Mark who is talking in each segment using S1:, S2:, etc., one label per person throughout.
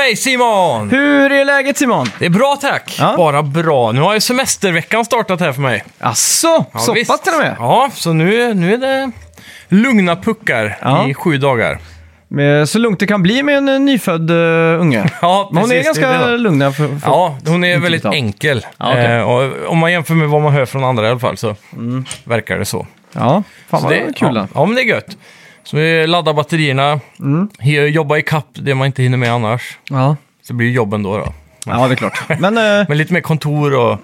S1: Hej Simon!
S2: Hur är läget Simon?
S1: Det är bra tack.
S2: Ja.
S1: Bara bra. Nu har ju semesterveckan startat här för mig.
S2: Asså,
S1: Ja,
S2: så
S1: visst.
S2: pass till och med?
S1: Ja, så nu, nu är det lugna puckar
S2: Ja.
S1: i sju dagar.
S2: Men Så lugnt det kan bli med en eh, nyfödd eh, unge.
S1: Ja,
S2: Men hon är
S1: precis, det
S2: ganska
S1: är det.
S2: lugn. här För, för...
S1: Ja, hon är väldigt
S2: av.
S1: enkel.
S2: Ja, okej.
S1: Eh, och om man jämför med vad man hör från andra i alla fall så verkar det så.
S2: ja, fan
S1: så
S2: vad
S1: det,
S2: kul.
S1: ja,
S2: då.
S1: ja, men det är gött. Så vi laddar batterierna,
S2: Mm.
S1: he- jobba i kapp det man inte hinner med annars.
S2: Ja.
S1: Så blir det jobb ändå då.
S2: ja, det är klart. Men eh,
S1: Men lite mer kontor och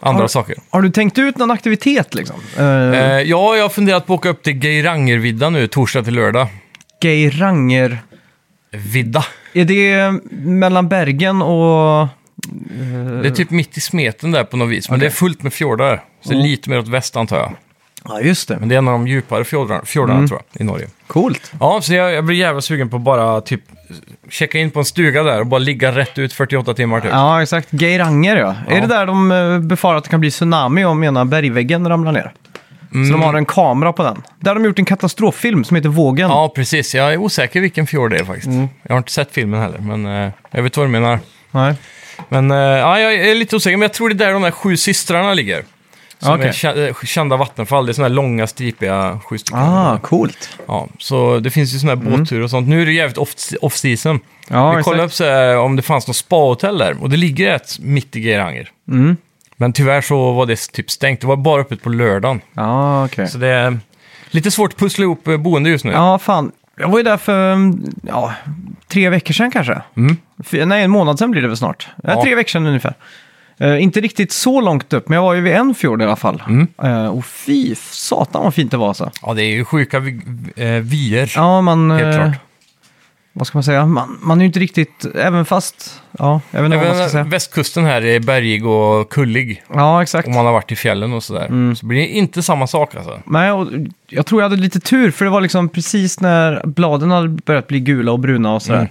S1: andra
S2: Har-
S1: saker.
S2: har du tänkt ut någon aktivitet liksom? Eh,
S1: Eh, ja, jag har funderat på att åka upp till Geirangervidda nu, torsdag till lördag.
S2: Geiranger.
S1: Vidda.
S2: Är det eh, mellan Bergen och...
S1: Det är typ mitt i smeten där på något vis, men det är fullt med fjordar. Så
S2: Mm.
S1: lite mer åt väst antar jag.
S2: Ja, just
S1: Men
S2: det.
S1: det är en av de djupare fjordarna, fjordarna
S2: Mm.
S1: tror jag, i Norge.
S2: Coolt.
S1: Ja, så jag, jag blir jävla sugen på att bara typ checka in på en stuga där och bara ligga rätt ut 48 timmar typ.
S2: Ja, exakt. Geiranger ja.
S1: Ja.
S2: Är det där de eh, befarar att det kan bli tsunami om ena bergväggen ramlar ner? Så
S1: Mm.
S2: de har en kamera på den. Där har de gjort en katastroffilm som heter Vågen.
S1: Ja, precis. Jag är osäker vilken fjord det är faktiskt.
S2: Mm.
S1: Jag har inte sett filmen heller, men eh, jag vet vad du menar.
S2: Nej.
S1: Men eh, ja, jag är lite osäker, men jag tror det är där de där sju systrarna ligger. Som
S2: Okej.
S1: är kä- eh, kända vattenfall. Det är såna här långa, stripiga sju stycken.
S2: Ah, coolt.
S1: Ja, så det finns ju såna här båtturer och sånt. Nu är det jävligt off- off-season.
S2: Ja,
S1: Vi
S2: exakt.
S1: kollade upp så här, eh, om det fanns något spahotell där och det ligger ett mitt i Geiranger.
S2: Mm.
S1: Men tyvärr så var det typ stängt. Det var bara öppet på lördagen.
S2: Ja, okej.
S1: Så det är lite svårt att pussla ihop eh, boende just nu.
S2: Ja, fan. Jag var ju där för mm, ja, tre veckor sedan kanske. Fy- Nej, en månad sedan blir det väl snart. Ja.
S1: Mm. Ja.
S2: tre veckor sedan ungefär. Eh, inte riktigt så långt upp, men jag var ju vid en fjord i alla fall.
S1: Mm.
S2: Eh, och fy satan vad fint det var så.
S1: Ja, det är ju sjuka vi- eh, vyer.
S2: Ja, man...
S1: Helt
S2: eh,
S1: klart.
S2: Vad ska man säga? Man, man är ju inte riktigt... Även fast... Ja, jag vet inte vad man ska
S1: Även
S2: säga.
S1: västkusten här är bergig och kullig.
S2: Ja, exakt.
S1: Om man har varit i fjällen och sådär.
S2: Mm.
S1: Så blir det inte samma sak alltså.
S2: Nej, och jag tror jag hade lite tur för det var liksom precis när bladen hade börjat bli gula och bruna och sådär.
S1: Mm.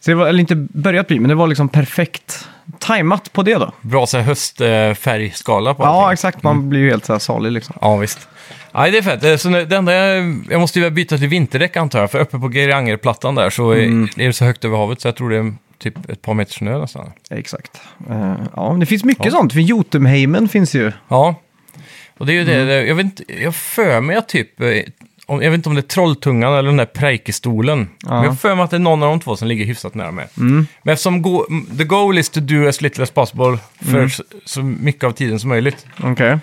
S2: Så det var, eller inte börjat bli, men det var liksom perfekt tajmat på det då.
S1: Bra så här höstfärgskala på
S2: Ja,
S1: allting.
S2: exakt. Man blir ju helt så här salig liksom.
S1: Ja, visst. Nej, det är fett. Eh, Så nu- det enda jag, jag måste ju byta till vinterdäck antar jag, för uppe på Geirangerplattan där så är,
S2: Mm.
S1: är det så högt över havet så jag tror det är typ ett par meter snö nästan.
S2: Exakt. Eh, ja, men det finns mycket sånt. För Jotunheimen finns ju.
S1: Ja, och det är ju det,
S2: Mm.
S1: det- jag vet inte, jag för mig att typ, eh, om, jag vet inte om det är Trolltungan eller den där Präikestolen, men jag för mig att det är någon av de två som ligger hyfsat nära mig.
S2: Mm.
S1: Men eftersom go, the goal is to do as little as possible för
S2: Mm.
S1: så, så mycket av tiden som möjligt.
S2: Okej.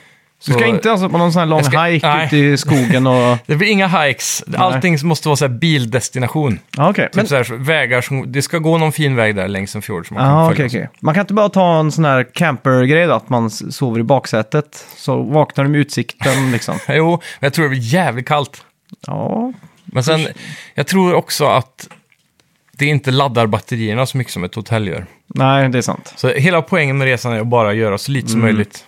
S2: Du ska
S1: Så-
S2: inte alltså på någon sån här lång
S1: Jag ska-
S2: hike
S1: nej.
S2: ute i skogen och...
S1: Det blir inga hikes, allting måste vara så här bildestination.
S2: Ja, okej. Men...
S1: Typ så här, så- vägar som, det ska gå någon fin väg där längs en fjord som man
S2: Ja,
S1: kan
S2: okej,
S1: följa.
S2: okej. Man kan inte bara ta en sån här camper-grej då, att man s- sover i baksätet, så vaknar du med utsikten liksom.
S1: Jo, men jag tror det blir jävligt kallt.
S2: Ja,
S1: Men sen, jag tror också att det inte laddar batterierna så mycket som ett hotell gör.
S2: nej, det är sant.
S1: Så hela poängen med resan är att bara göra så lite som möjligt.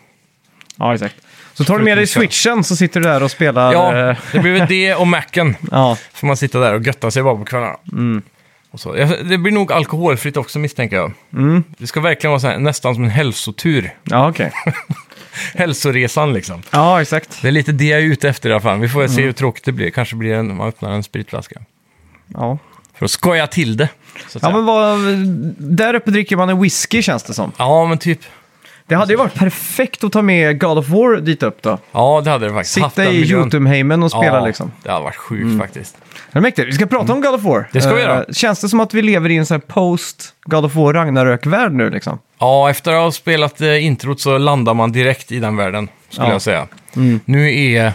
S2: Ja, exakt. Så tar du med dig
S1: Förutom
S2: switchen så sitter du där och spelar...
S1: Ja,
S2: eh,
S1: det blir väl det och macken.
S2: ja.
S1: Får man sitta där och götta sig bara på kvällarna. Och så. Jag- Det blir nog alkoholfritt också misstänker jag. Det ska verkligen vara så här, nästan som en hälsotur.
S2: ja okej.
S1: Hälsoresan liksom.
S2: Ja, exakt.
S1: Det är lite det jag är ute efter i alla fall. Vi får väl se hur tråkigt det blir. Kanske blir det en, man öppnar en spritflaska.
S2: Ja.
S1: För att skoja till det. Så att
S2: Ja,
S1: säga.
S2: men vad, där uppe dricker man en whisky känns det som.
S1: ja, men typ.
S2: Det hade ju varit perfekt att ta med God of War dit upp då.
S1: Ja, det hade det faktiskt. Haft
S2: Sitta
S1: den
S2: i
S1: miljön.
S2: Jotunheimen och spela
S1: ja,
S2: liksom.
S1: Det har varit sjukt faktiskt.
S2: Det är mäktigt. Vi ska prata om God of War.
S1: Det ska vi
S2: Eh,
S1: göra.
S2: Känns det som att vi lever i en sån här post God of War Ragnarök-värld nu liksom?
S1: Ja, efter att ha spelat eh, introt så landar man direkt i den världen, skulle
S2: Ja. Mm.
S1: jag säga. Nu är...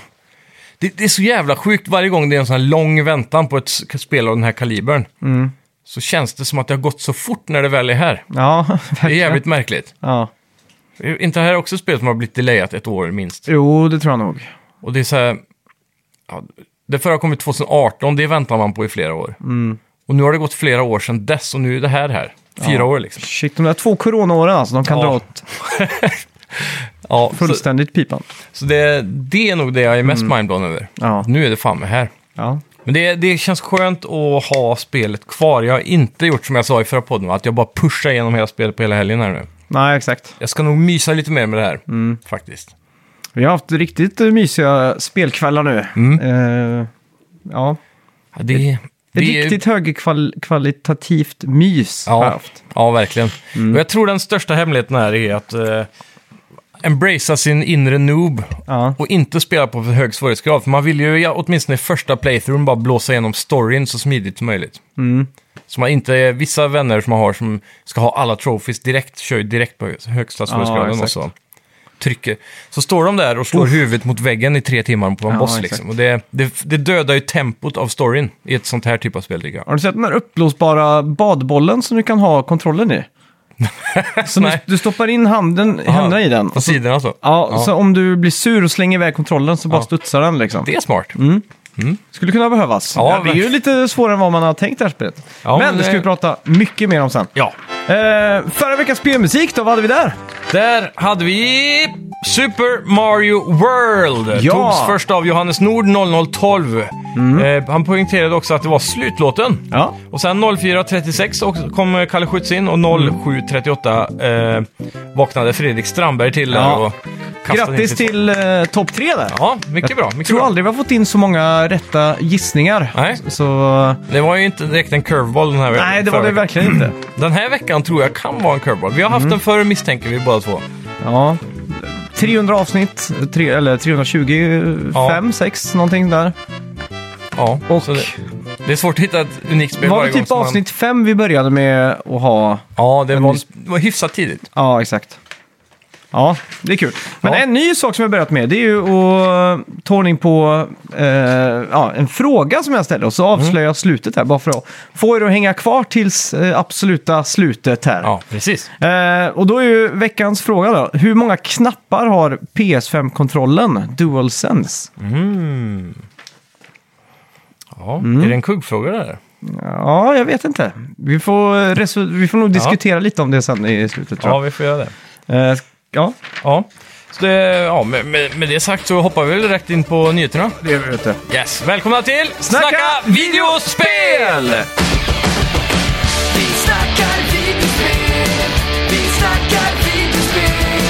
S1: Det, det är så jävla sjukt varje gång det är en sån här lång väntan på ett s- spel av den här kalibern.
S2: Mm.
S1: Så känns det som att det har gått så fort när det väl är här.
S2: Ja,
S1: Det är jävligt märkligt.
S2: ja.
S1: Är Inte här också ett spel som har blivit delayat ett år minst.
S2: Jo, det tror jag nog.
S1: Och det är så här... Ja, det förra kom ut 2018, det väntar man på i flera år. Och nu har det gått flera år sedan dess och nu är det här här. Fyra
S2: Ja.
S1: år liksom.
S2: Shit, de där två coronaåren alltså, de kan
S1: Ja.
S2: dra åt
S1: Ja, så,
S2: fullständigt pipan.
S1: så det, det är nog det jag är mest mindblown över.
S2: Ja.
S1: Nu är det fan med här.
S2: ja.
S1: Men det, det känns skönt att ha spelet kvar. Jag har inte gjort som jag sa i förra podden, va? att jag bara pushar igenom hela spelet på hela helgen här nu.
S2: Nej, exakt.
S1: Jag ska nog mysa lite mer med det här, faktiskt.
S2: Vi har haft
S1: Mm.
S2: riktigt eh, mysiga spelkvällar nu. Eh, ja,
S1: Ja, det,
S2: Ett
S1: Det är-
S2: riktigt högkvalitativt mys har jag
S1: Ja,
S2: haft.
S1: ja verkligen.
S2: Mm.
S1: Och jag tror den största hemligheten här är att eh, embracea sin inre noob
S2: Ja.
S1: och inte spela på för hög svårighetsgrad. För man vill ju ja, åtminstone i första playthroughen bara blåsa igenom storyn så smidigt som möjligt.
S2: Mm.
S1: Så man inte, vissa vänner som man har som ska ha alla trophies direkt, kör ju direkt på högsta svårighetsgraden och
S2: exakt.
S1: så trycker. Så står de där och slår huvudet mot väggen i tre timmar på en
S2: Ja,
S1: boss
S2: exakt.
S1: liksom. Och det, det, det dödar ju tempot av storyn i ett sånt här typ av spel tycker jag.
S2: Har du sett den här uppblåsbara badbollen som du kan ha kontrollen i? så du,
S1: Nej.
S2: du stoppar in handen, händerna i den.
S1: På
S2: Och så,
S1: sidorna alltså. så.
S2: ja,
S1: Ja.
S2: så om du blir sur och slänger iväg kontrollen så bara
S1: Ja.
S2: studsar den liksom.
S1: Det är smart.
S2: Skulle kunna behövas. Ja,
S1: Ja,
S2: det är ju
S1: verkligen.
S2: lite svårare än vad man har tänkt det här spelet.
S1: Ja,
S2: men
S1: men
S2: det ska
S1: det-
S2: vi prata mycket mer om sen.
S1: Ja.
S2: Eh, förra veckans spelmusik då, vad hade vi där?
S1: Där hade vi Super Mario World.
S2: Ja.
S1: Togs först av Johannes Nord 0012. Eh, han poängterade också att det var slutlåten.
S2: Mm. Ja.
S1: Och sen 04.36 också kom eh, Kalle Schütz in
S2: Mm.
S1: och 07.38 eh, vaknade Fredrik Strandberg till där
S2: Ja.
S1: och kastade in
S2: Grattis
S1: sitt-
S2: till eh, topp tre där.
S1: Ja, mycket bra.
S2: Jag
S1: Mycket
S2: tror
S1: bra.
S2: aldrig vi har fått in så många rätta gissningar.
S1: Nej.
S2: Så,
S1: Det var ju inte direkt en curveball den här veckan.
S2: nej, det var det Mm. verkligen inte.
S1: Den här veckan tror jag kan vara en curveball. Vi har haft den förr misstänker vi båda två.
S2: Ja. 300 avsnitt, tre, eller 325,
S1: Ja.
S2: 6 någonting där.
S1: Ja,
S2: Och-
S1: så det, det är svårt att hitta ett unikt spel
S2: var
S1: varje
S2: det
S1: gång
S2: typ
S1: som man-
S2: avsnitt 5 vi började med att ha?
S1: Ja, det var,
S2: ny-
S1: det var hyfsat tidigt.
S2: Ja, exakt. Ja, det är kul. Men
S1: Ja.
S2: en ny sak som jag börjat med det är ju att eh, ta ordning på eh, ja, en fråga som jag ställde och så
S1: Mm.
S2: avslöjar jag slutet här bara för att få er att hänga kvar tills eh, absoluta slutet här.
S1: Ja, precis.
S2: Eh, och då är ju veckans fråga då. Hur många knappar har PS5-kontrollen DualSense?
S1: Mm. Ja. Är det en kuggfråga det där?
S2: Ja, jag vet inte. Vi får, resu- vi får nog diskutera lite om det sen i slutet tror
S1: Ja,
S2: jag.
S1: vi får göra det.
S2: Ja, ja
S1: Ja. Så det, ja, med, med, med det sagt så hoppar vi väl direkt in på nyheterna.
S2: det är vi ute.
S1: Yes, välkomna till
S2: Snacka
S1: Snacka, videospel!
S3: Vi snackar videospel, vi snackar videospel,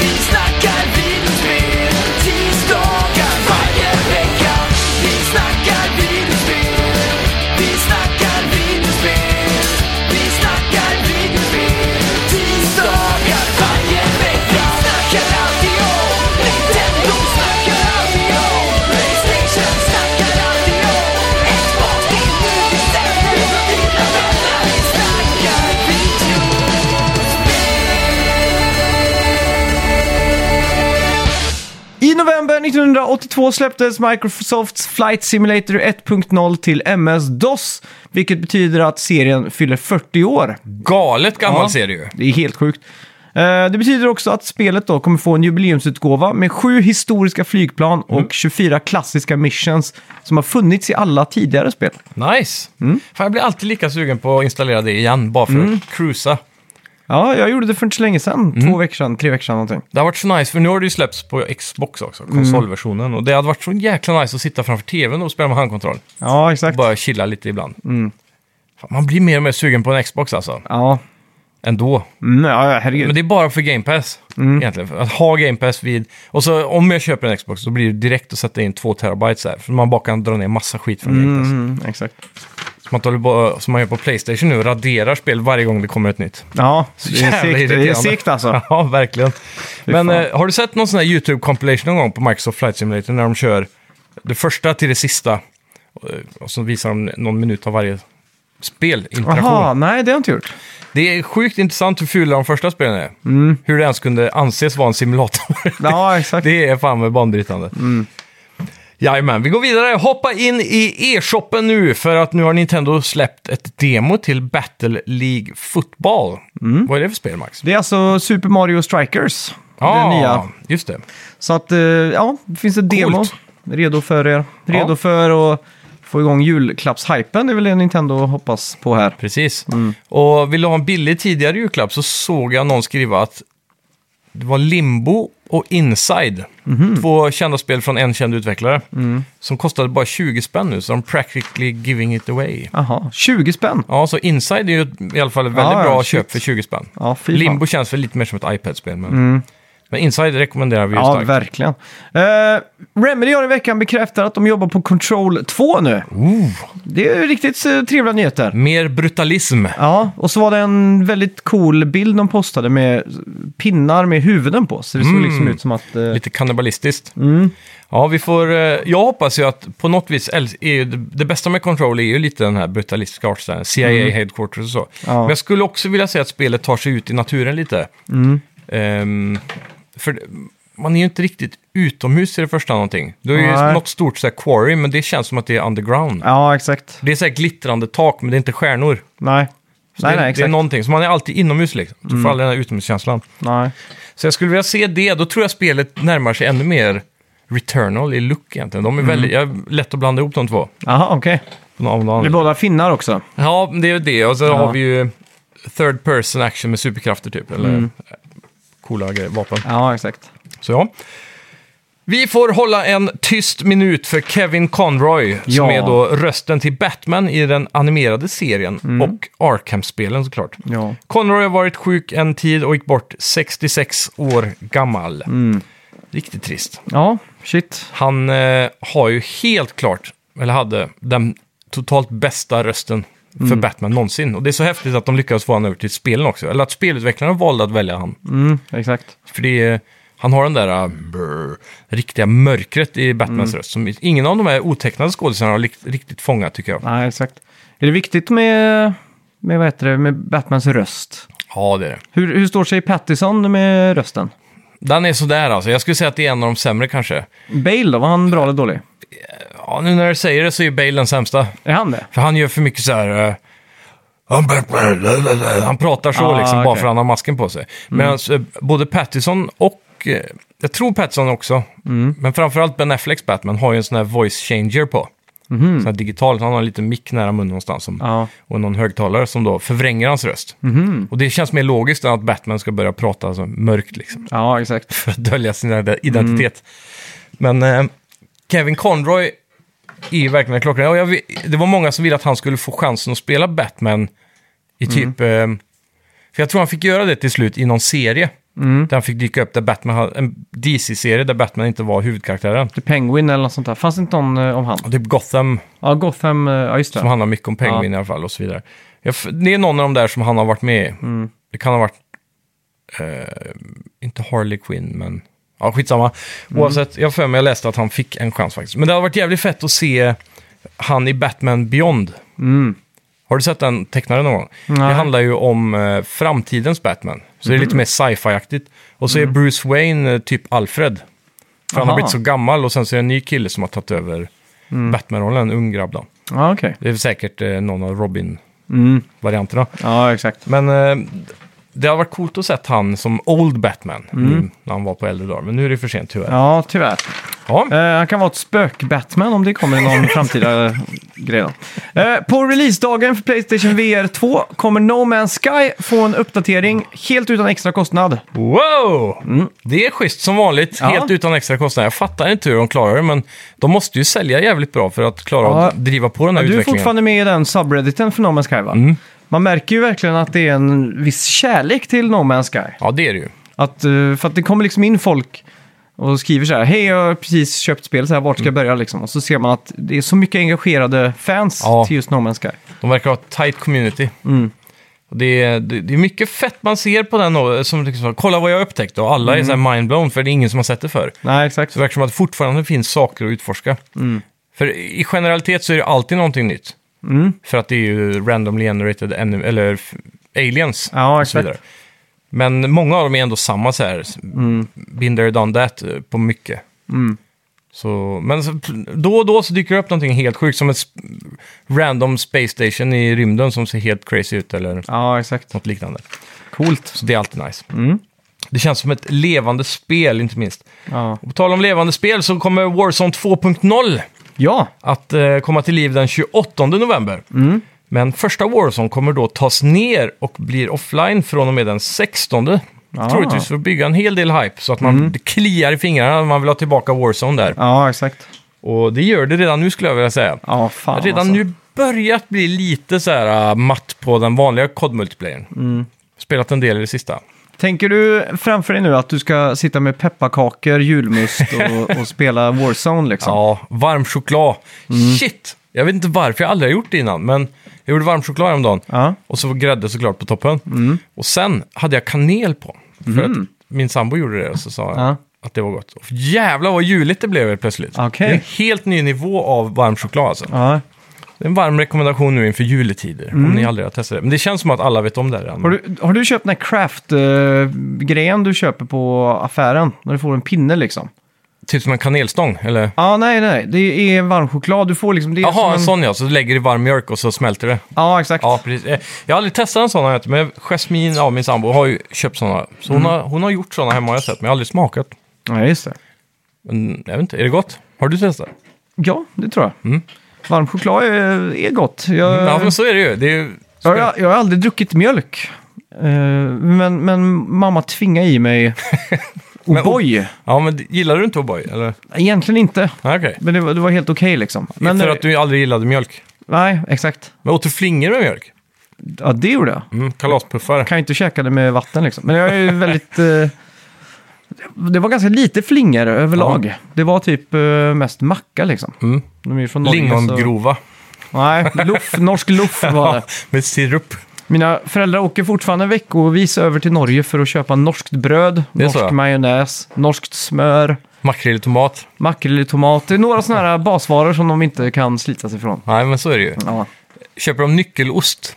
S3: vi snackar videospel, tisdagar varje vecka. Vi snackar videospel, vi snackar videospel, vi snackar videospel, tisdagar varje vecka. Snackar alltid om Nintendo, snackar alltid om Playstation, snackar alltid om Xbox, det är nu vi sätter dina vänner. Vi snackar videospel.
S2: I november 1982 släpptes Microsofts Flight Simulator 1.0 till MS-DOS, vilket betyder att serien fyller 40 år.
S1: Galet gammal
S2: Ja.
S1: ser det ju.
S2: Det är helt sjukt. Eh, Det betyder också att spelet då kommer få en jubileumsutgåva med sju historiska flygplan
S1: Mm.
S2: och 24 klassiska missions som har funnits i alla tidigare spel.
S1: Nice! Fan, jag blir alltid lika sugen på att installera det igen, bara för att cruisa.
S2: Ja, jag gjorde det för inte så länge sedan.
S1: Mm.
S2: Två veckor sedan, tre veckor sedan någonting.
S1: Det har varit så nice, för nu har det ju släppts på Xbox också, konsolversionen. Och det hade varit så jäkla nice att sitta framför tvn och spela med handkontroll.
S2: Ja, exakt.
S1: Bara chilla lite ibland.
S2: Mm.
S1: Fan, man blir mer och mer sugen på en Xbox alltså,
S2: Ja,
S1: ändå.
S2: mm, ja ja, herregud.
S1: Men det är bara för Game Pass,
S2: Mm.
S1: egentligen. För Att ha Game Pass vid... Och så om jag köper en Xbox så blir det direkt att sätta in två terabytes där. För man bara kan dra ner massa skit från Game Pass.
S2: Mm, exakt.
S1: Så man, håller på, som man gör på Playstation nu, raderar spel varje gång det kommer ett nytt.
S2: Ja, det är
S1: jävla
S2: segt, det är
S1: irriterande.
S2: segt alltså.
S1: Ja, verkligen. Men
S2: fan.
S1: eh, har du sett någon sån här YouTube-compilation någon gång på Microsoft Flight Simulator när de kör det första till det sista? Och, och så visar de någon minut av varje spelinteraktion.
S2: Jaha, nej det har jag inte gjort.
S1: Det är sjukt intressant hur fula de första spelen är. Hur det ens kunde anses vara en simulator.
S2: Mm. Ja, exakt. Mm.
S1: det är fan med banbrytande. Jajamän, vi går vidare. Hoppa in i e-shoppen nu för att nu har Nintendo släppt ett demo till Battle League Football. Vad är det för spel, Max?
S2: Mm. Det är alltså Super Mario Strikers. Det nya.
S1: just det.
S2: Så att, eh, ja, det finns ett demo.
S1: Coolt.
S2: Redo för er. Redo
S1: Ja.
S2: för att få igång julklappshypen. Det är väl det Nintendo hoppas på här.
S1: Precis.
S2: Mm.
S1: Och vill du ha en billig tidigare julklapp så såg jag någon skriva att det var Limbo och Inside.
S2: Mhm.
S1: Två kända spel från en känd utvecklare.
S2: Mm.
S1: Som kostade bara 20 spänn nu, så de practically giving it away.
S2: Jaha, 20 spänn.
S1: Ja, så Inside är ju i alla fall ett väldigt
S2: Ja, ja,
S1: bra
S2: Ah, shit.
S1: köp för 20 spänn.
S2: Ja, fy fan. Mm.
S1: Limbo känns väl lite mer som ett iPad-spel, men... Men Inside rekommenderar vi ju
S2: Ja,
S1: starkt.
S2: verkligen. Eh, Remedy har i veckan bekräftat att de jobbar på Control 2 nu. Det är ju riktigt eh, trevliga nyheter.
S1: Mer brutalism.
S2: Ja, och så var det en väldigt cool bild de postade med pinnar med huvuden på. Så det såg liksom ut som att... eh,
S1: Mm.
S2: Mm.
S1: Lite kannibalistiskt. Ja, vi får... eh, Jag hoppas ju att på något vis... äls- Är ju det, det bästa med Control är ju lite den här brutalistiska artstylen. CIA headquarters och så.
S2: Mm. Ja.
S1: Men jag skulle också vilja säga att spelet tar sig ut i naturen lite.
S2: Mm.
S1: Ehm, för det- man är ju inte riktigt utomhus i det första någonting. Du är ju
S2: Nej.
S1: något stort så här quarry, men det känns som att det är underground.
S2: Ja, exakt.
S1: Det är så här glittrande tak, men det är inte stjärnor.
S2: Nej.
S1: Så
S2: Nej, nej,
S1: det, det är
S2: exakt. Mm.
S1: någonting. Så man är alltid inomhus liksom. Du får aldrig den här utomhuskänslan.
S2: Nej.
S1: Så jag skulle vilja se det. Då tror jag spelet närmar sig ännu mer Returnal i look egentligen.
S2: Mm.
S1: De är väldigt, jag är lätt att blanda ihop de två.
S2: Jaha, okej.
S1: Av någon
S2: Det är
S1: anledning.
S2: båda finnar också.
S1: Ja, men det är ju det. Och så
S2: Ja.
S1: har vi ju third person action med superkrafter typ. Eller
S2: Mm.
S1: coola grejer, vapen.
S2: Ja, exakt.
S1: Så ja. Vi får hålla en tyst minut för Kevin Conroy, som
S2: Ja.
S1: är då rösten till Batman i den animerade serien och Arkham-spelen såklart.
S2: Mm. Ja.
S1: Conroy har varit sjuk en tid och gick bort 66 år gammal.
S2: Mm.
S1: Riktigt trist.
S2: Ja, shit.
S1: Han eh, har ju helt klart, eller hade, den totalt bästa rösten
S2: Mm.
S1: för Batman någonsin. Och det är så häftigt att de lyckades få honom över till spelen också. Eller att spelutvecklarna valde att välja han.
S2: Mm, exakt.
S1: För det är, han har den där äh, brr, riktiga mörkret i Batmans röst. Som ingen av de här otecknade skådespelarna har likt- riktigt fångat tycker jag.
S2: Nej, exakt. Är det viktigt med, med, vad heter det, med Batmans röst?
S1: Ja, det är det.
S2: Hur, hur står sig Pattison med rösten?
S1: Den är sådär alltså. Jag skulle säga att det är en av de sämre kanske.
S2: Bale då, var han bra eller dålig?
S1: Ja, nu när du säger det så är ju Bale den sämsta.
S2: Är han det?
S1: För han gör för mycket så här... eh, "I'm Batman, la, la, la." Han pratar så
S2: Ah,
S1: liksom, bara
S2: okej.
S1: för att han har masken på sig. Medan eh, både Pattinson och... eh, Jag tror Pattinson också, men framförallt Ben Afflecks Batman har ju en sån här voice changer på. Sån här digital, han har en liten mick nära munnen någonstans som,
S2: Ja.
S1: och någon högtalare som då förvränger hans röst. Och det känns mer logiskt än att Batman ska börja prata så mörkt liksom
S2: Ja, exakt.
S1: för att dölja sin ide- identitet. Men eh, Kevin Conroy är ju verkligen klockren. Och jag, vi- det var många som ville att han skulle få chansen att spela Batman i typ... Eh, för jag tror han fick göra det till slut i någon serie. Där han fick dyka upp där Batman, hade- en DC-serie där Batman inte var huvudkaraktären.
S2: The Penguin eller något sånt där. Fanns det inte någon eh, om han?
S1: Och typ Gotham,
S2: Ja, Gotham, eh, ja just
S1: som
S2: det.
S1: handlar mycket om Penguin i alla fall och så vidare. Jag, f- det är någon av de där som han har varit med i.
S2: Mm.
S1: Det kan ha varit, eh, inte Harley Quinn, men ja, skitsamma.
S2: Mm.
S1: Oavsett, jag har för mig jag läste att han fick en chans faktiskt. Men det har varit jävligt fett att se han i Batman Beyond. Har du sett den tecknade någon gång?
S2: Mm. Nej. Mm.
S1: Det handlar ju om eh, framtidens Batman. Så det är lite mer sci-fi-aktigt. Och så är Bruce Wayne eh, typ Alfred. För han
S2: Aha.
S1: har
S2: Mm.
S1: blivit så gammal och sen så är det en ny kille som har tagit över Batman-rollen, en ung grabb då.
S2: Ja, okej.
S1: Det är säkert eh, någon av Robin-varianterna.
S2: Ja, exakt.
S1: Men eh, det har varit coolt att se han som Old Batman nu, när han var på äldre dagar. Men nu är det för sent tyvärr. Ja.
S2: Mm. Ja, tyvärr. Eh, han kan vara ett spök-Batman om det kommer i någon framtida eh, grej. då. Eh, på releasedagen för Playstation VR 2 kommer No Man's Sky få en uppdatering helt utan extra kostnad.
S1: Wow! Det är schysst som vanligt,
S2: Mm. Ja.
S1: helt utan extra kostnader. Jag fattar inte hur de klarar det, men de måste ju sälja jävligt bra för att klara
S2: Ja.
S1: att driva på den här
S2: Du är
S1: utvecklingen. Mm.
S2: fortfarande med i den subredditen för No Man's Sky va? Man märker ju verkligen att det är en viss kärlek till No Man's Sky.
S1: Ja, det är det ju.
S2: Att, eh, för att det kommer liksom in folk och skriver så här, hej jag har precis köpt spel, så här, vart ska jag
S1: Mm.
S2: börja liksom? Och så ser man att det är så mycket engagerade fans
S1: Ja.
S2: till just No Man's Sky.
S1: De verkar ha ett tight community.
S2: Mm.
S1: Och det, är, det, det är mycket fett man ser på den. och- Som liksom, Kolla vad jag upptäckte och alla
S2: Mm.
S1: är så här mindblown för det är ingen som har sett det förr.
S2: Nej, exakt.
S1: Så det verkar som att det fortfarande finns saker att utforska.
S2: Mm.
S1: För i generalitet så är det alltid någonting nytt.
S2: Mm.
S1: För att det är ju randomly generated enem- eller f- aliens.
S2: Ja,
S1: och så
S2: exakt.
S1: vidare. Men många av dem är ändå samma så här.
S2: Mm.
S1: Been there, done that eh, på mycket. Så, men så, då och då så dyker det upp någonting helt sjukt. Som ett sp- random space station i rymden som ser helt crazy ut eller
S2: Ja, exakt.
S1: något liknande.
S2: Coolt.
S1: Så det är alltid nice.
S2: Mm.
S1: Det känns som ett levande spel inte minst.
S2: Ja.
S1: Och på tal om levande spel så kommer Warzone 2.0
S2: ja,
S1: att eh, komma till liv den 28 november.
S2: Mm.
S1: Men första Warzone kommer då tas ner och blir offline från och med den 16.
S2: Ah. Mm.
S1: Troligtvis för att bygga en hel del hype så att man det kliar i fingrarna när man vill ha tillbaka Warzone där.
S2: ja exakt.
S1: Och det gör det redan nu skulle jag vilja säga.
S2: Ja, fan
S1: Redan
S2: alltså.
S1: nu börjat ah,
S2: Mm.
S1: bli lite så här äh, matt på den vanliga COD-multiplayern. Spelat en del i det sista.
S2: Tänker du framför dig nu att du ska sitta med pepparkakor, julmust och, och spela Warzone liksom?
S1: Ja, varm choklad. Shit! Jag vet inte varför jag aldrig har gjort det innan, men jag gjorde varm choklad häromdagen.
S2: Ja. Mm.
S1: Och så grädde såklart på toppen. Och sen hade jag kanel på. För att min sambo gjorde det och så sa jag
S2: Ja.
S1: att det var gott. Och jävlar vad juligt det blev helt plötsligt.
S2: Okej.
S1: Det är en helt ny nivå av varm choklad alltså.
S2: Ja. Mm.
S1: Det är en varm rekommendation nu inför juletider, om ni aldrig har testat det. Men det känns som att alla vet om det här redan.
S2: Har, du, har du köpt den här craft-grejen du köper på affären? När du får en pinne liksom?
S1: Typ som en kanelstång, eller?
S2: Ja, nej, nej. Det är varm choklad. Du får liksom... Det är som
S1: Jaha, en sån ja. Så lägger du i varm mjölk och så smälter det.
S2: Ja, exakt.
S1: Ja, precis. Eh, Jag har aldrig testat en sån, har jag inte, men Jasmine, ja, min sambo, har ju köpt såna. Så
S2: Mm.
S1: hon, har, hon har gjort såna hemma har jag sett, men jag har aldrig smakat.
S2: Ja, just det.
S1: Men jag vet inte, är det gott? Har du testat?
S2: Eh. Ja, det tror jag. Varm choklad är, är gott. Jag,
S1: Mm. Ja, men så är det ju. Det är ju...
S2: jag, har- jag har aldrig druckit mjölk. Eh, men, men mamma tvingade i mig O'boy.
S1: Ja, men gillar du inte O'boy? Eller?
S2: Egentligen inte.
S1: Nej, okej.
S2: Men det var, det var helt okej liksom. Men,
S1: Men För att du aldrig gillade mjölk.
S2: Nej, exakt.
S1: Men åt du flingor med mjölk?
S2: Ja, det gjorde jag.
S1: Mm, kalaspuffar.
S2: Kan ju inte käka det med vatten liksom. Men jag är ju väldigt... eh, det var ganska lite flingor överlag. Det var typ eh, mest macka liksom.
S1: Mm.
S2: De är ju från Norge,
S1: Lingongrova.
S2: Så... Nej, luff, norsk luff var det.
S1: med sirup.
S2: Mina föräldrar åker fortfarande veckovis över till Norge för att köpa norskt bröd,
S1: Det är så,
S2: norsk
S1: ja.
S2: majonnäs, norskt smör,
S1: Makrill i tomat.
S2: makrill i tomat. Det är några sådana här basvaror som de inte kan slita sig från.
S1: Nej, men så är det ju.
S2: Ja.
S1: Köper de nyckelost?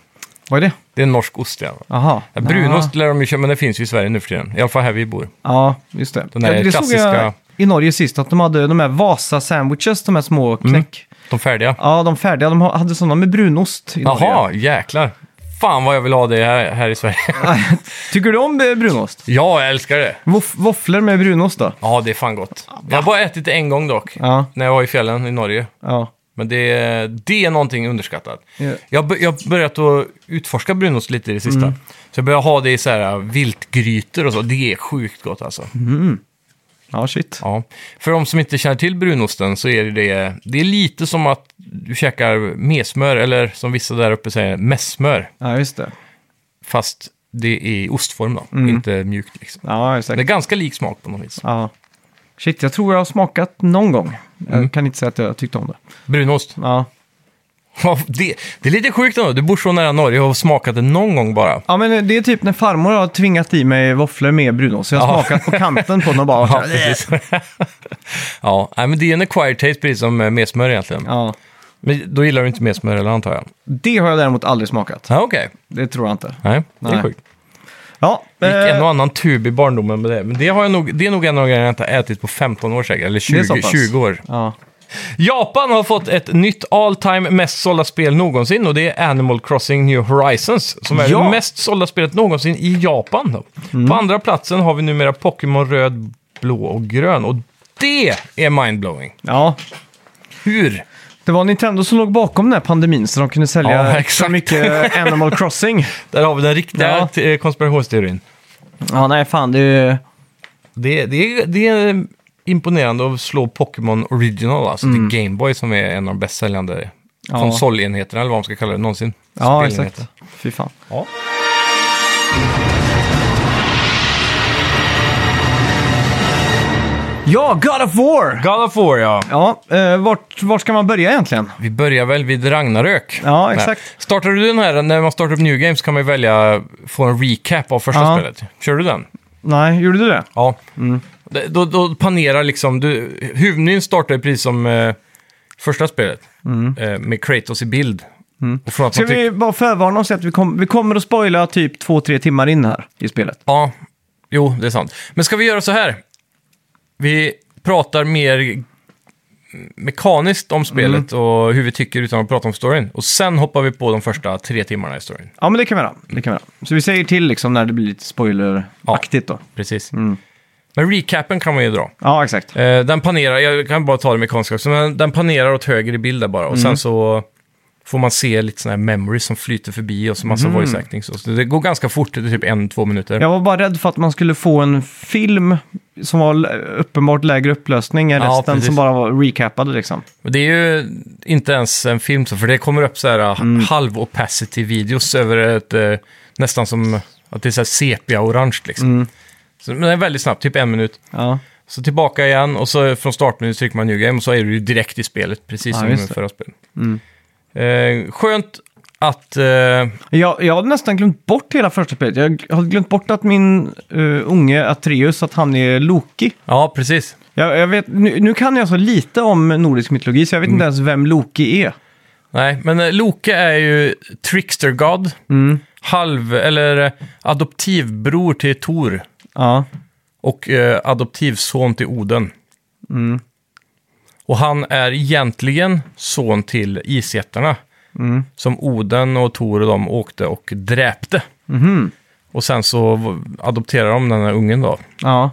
S2: Vad är det?
S1: Det är en norsk ost, ja.
S2: Jaha.
S1: Ja, Brunost lär de ju köpa, men det finns ju i Sverige nu för tiden. I alla fall här vi bor.
S2: Ja, just det.
S1: Den där
S2: ja, det såg jag
S1: klassiska-
S2: i Norge sist, att de hade de här Vasa-sandwiches, de här
S1: Mm.
S2: små knäck.
S1: De färdiga.
S2: Ja, de färdiga, de hade sådana med brunost i Norge.
S1: Jaha, jäklar. Fan vad jag vill ha det här, här i Sverige.
S2: Tycker du om eh, brunost?
S1: ja, jag älskar det.
S2: Voff- Våfflor med brunost då?
S1: Ja, det är fan gott. Jag har bara ätit det en gång dock.
S2: Ja.
S1: När jag var i fjällen i Norge.
S2: Ja.
S1: Men det, det är någonting underskattat.
S2: Ja.
S1: Jag har bör- jag har börjat att utforska brunost lite i det
S2: Mm.
S1: sista. Så jag börjar ha det i så här äh, viltgrytor och så. Det är sjukt gott alltså.
S2: Mm. Ja, shit.
S1: Ja. För de som inte känner till brunosten så är det, det är lite som att du käkar mesmör, eller som vissa där uppe säger, messmör.
S2: Ja, just det.
S1: Fast det är i ostform då,
S2: Mm.
S1: inte mjukt liksom.
S2: Ja,
S1: Det är
S2: exakt.
S1: ganska lik smak på något vis.
S2: Ja. Shit, jag tror jag har smakat någon gång.
S1: Mm.
S2: Jag kan inte säga att jag tyckte om det.
S1: Brunost.
S2: Ja,
S1: Ja, Det, det är lite sjukt ändå. Du bor så nära Norge och har smakat det någon gång bara.
S2: ja men eh, det är typ när farmor har tvingat i mig våfflor med brunost. Så jag har
S1: Ja.
S2: smakat på kanten på den och bara...
S1: Ja, precis. ja, nej, men det är en acquired taste precis som eh, med smör egentligen.
S2: ja.
S1: Men då gillar du inte med smör eller antar jag?
S2: Det har jag däremot aldrig smakat.
S1: Ja, okej.
S2: Det tror jag inte.
S1: Nej, det är
S2: Nej.
S1: sjukt.
S2: Ja,
S1: Det gick en
S2: eh,
S1: och annan tub i barndomen med det. Men det, har jag nog, det är nog en av de grejerna jag inte har ätit på 15 år säkert, eller
S2: är så
S1: 20,
S2: pass.
S1: 20 år.
S2: ja.
S1: Japan har fått ett nytt all time mest sålda spel någonsin och det är Animal Crossing New Horizons som är
S2: Ja. Mm.
S1: det mest sålda spelet någonsin i Japan. Då. På andra platsen har vi numera Pokémon röd, blå och grön och det är mindblowing.
S2: ja,
S1: Hur?
S2: det var Nintendo som låg bakom den här pandemin så de kunde
S1: Ja,
S2: sälja
S1: exakt.
S2: så mycket Animal Crossing.
S1: Där har vi den riktiga
S2: Ja.
S1: t- eh, konspirationsteorin.
S2: Ja, nej fan, det är ju...
S1: Det, det, är- det är imponerande att slå Pokémon Original, alltså till Gameboy som är en av de bäst säljande
S2: Mm. Ja.
S1: konsolenheterna, eller vad man ska kalla det, någonsin.
S2: Ja,
S1: Spelenheter.
S2: exakt. Fy fan.
S1: Ja.
S2: Ja, God of War!
S1: God of War, ja.
S2: Ja, eh, vart, vart ska man börja egentligen?
S1: Vi börjar väl vid Ragnarök.
S2: Ja, exakt.
S1: Nej. Startar du den här, när man startar upp New Games kan man ju välja, få en recap av första
S2: Ja. Mm.
S1: spelet. Kör du den?
S2: Nej, gjorde du det?
S1: Ja. Det- Då, då panerar liksom, du, huvudmenyn startar ju precis som eh, första spelet. Eh, med Kratos i bild. Och från att
S2: Mm. Ska
S1: man tyck-
S2: vi bara förvarna oss att vi, kom, vi kommer att spoila typ två, tre timmar in här i spelet?
S1: Ja, jo, det är sant. Men ska vi göra så här? Vi pratar mer mekaniskt om spelet
S2: Mm.
S1: och hur vi tycker utan att prata om storyn. Och sen hoppar vi på de första tre timmarna i storyn.
S2: Ja, men det kan vi göra. Det kan vi göra. Så vi säger till liksom när det blir lite spoileraktigt då.
S1: Precis. Men recapen kan man ju dra.
S2: Ja, exakt.
S1: Eh, den panerar, jag kan bara ta det mekaniska också, men den panerar åt höger i bild där bara. Och sen så får man se lite sådana här memories som flyter förbi och så massa voice actings. Och så. Det går ganska fort, det är typ en, två minuter.
S2: Jag var bara rädd för att man skulle få en film som var l- uppenbart lägre upplösning än
S1: Ja,
S2: resten
S1: precis.
S2: som bara var recapade liksom.
S1: Och det är ju inte ens en ah, film, så, för det kommer upp så här halv-opacity-videos över ett eh, nästan som Att det är så här sepia-orange liksom. Så, men det är väldigt snabbt, typ en minut.
S2: Ja.
S1: Så tillbaka igen och så från startmenyn trycker man New Game och så är du ju direkt i spelet, precis
S2: Ja,
S1: som i
S2: just det. Mm.
S1: förra spelet. Eh, skönt att... Eh,
S2: Jag, jag hade nästan glömt bort hela första spelet. Jag hade glömt bort att min eh, unge Atreus, att han är Loki.
S1: ja, precis.
S2: Jag, jag vet, nu, nu kan jag så lite om nordisk mytologi så jag vet inte ens vem Loki är.
S1: Nej, men eh, Loke är ju trickster god.
S2: Mm.
S1: Halv, eller eh, adoptivbror till Tor
S2: Ja,
S1: och eh, adoptivson till Oden. Och han är egentligen son till isjättarna. Som Oden och Tor och de åkte och dräpte. Och sen så v- adopterade de den här ungen då.
S2: ja.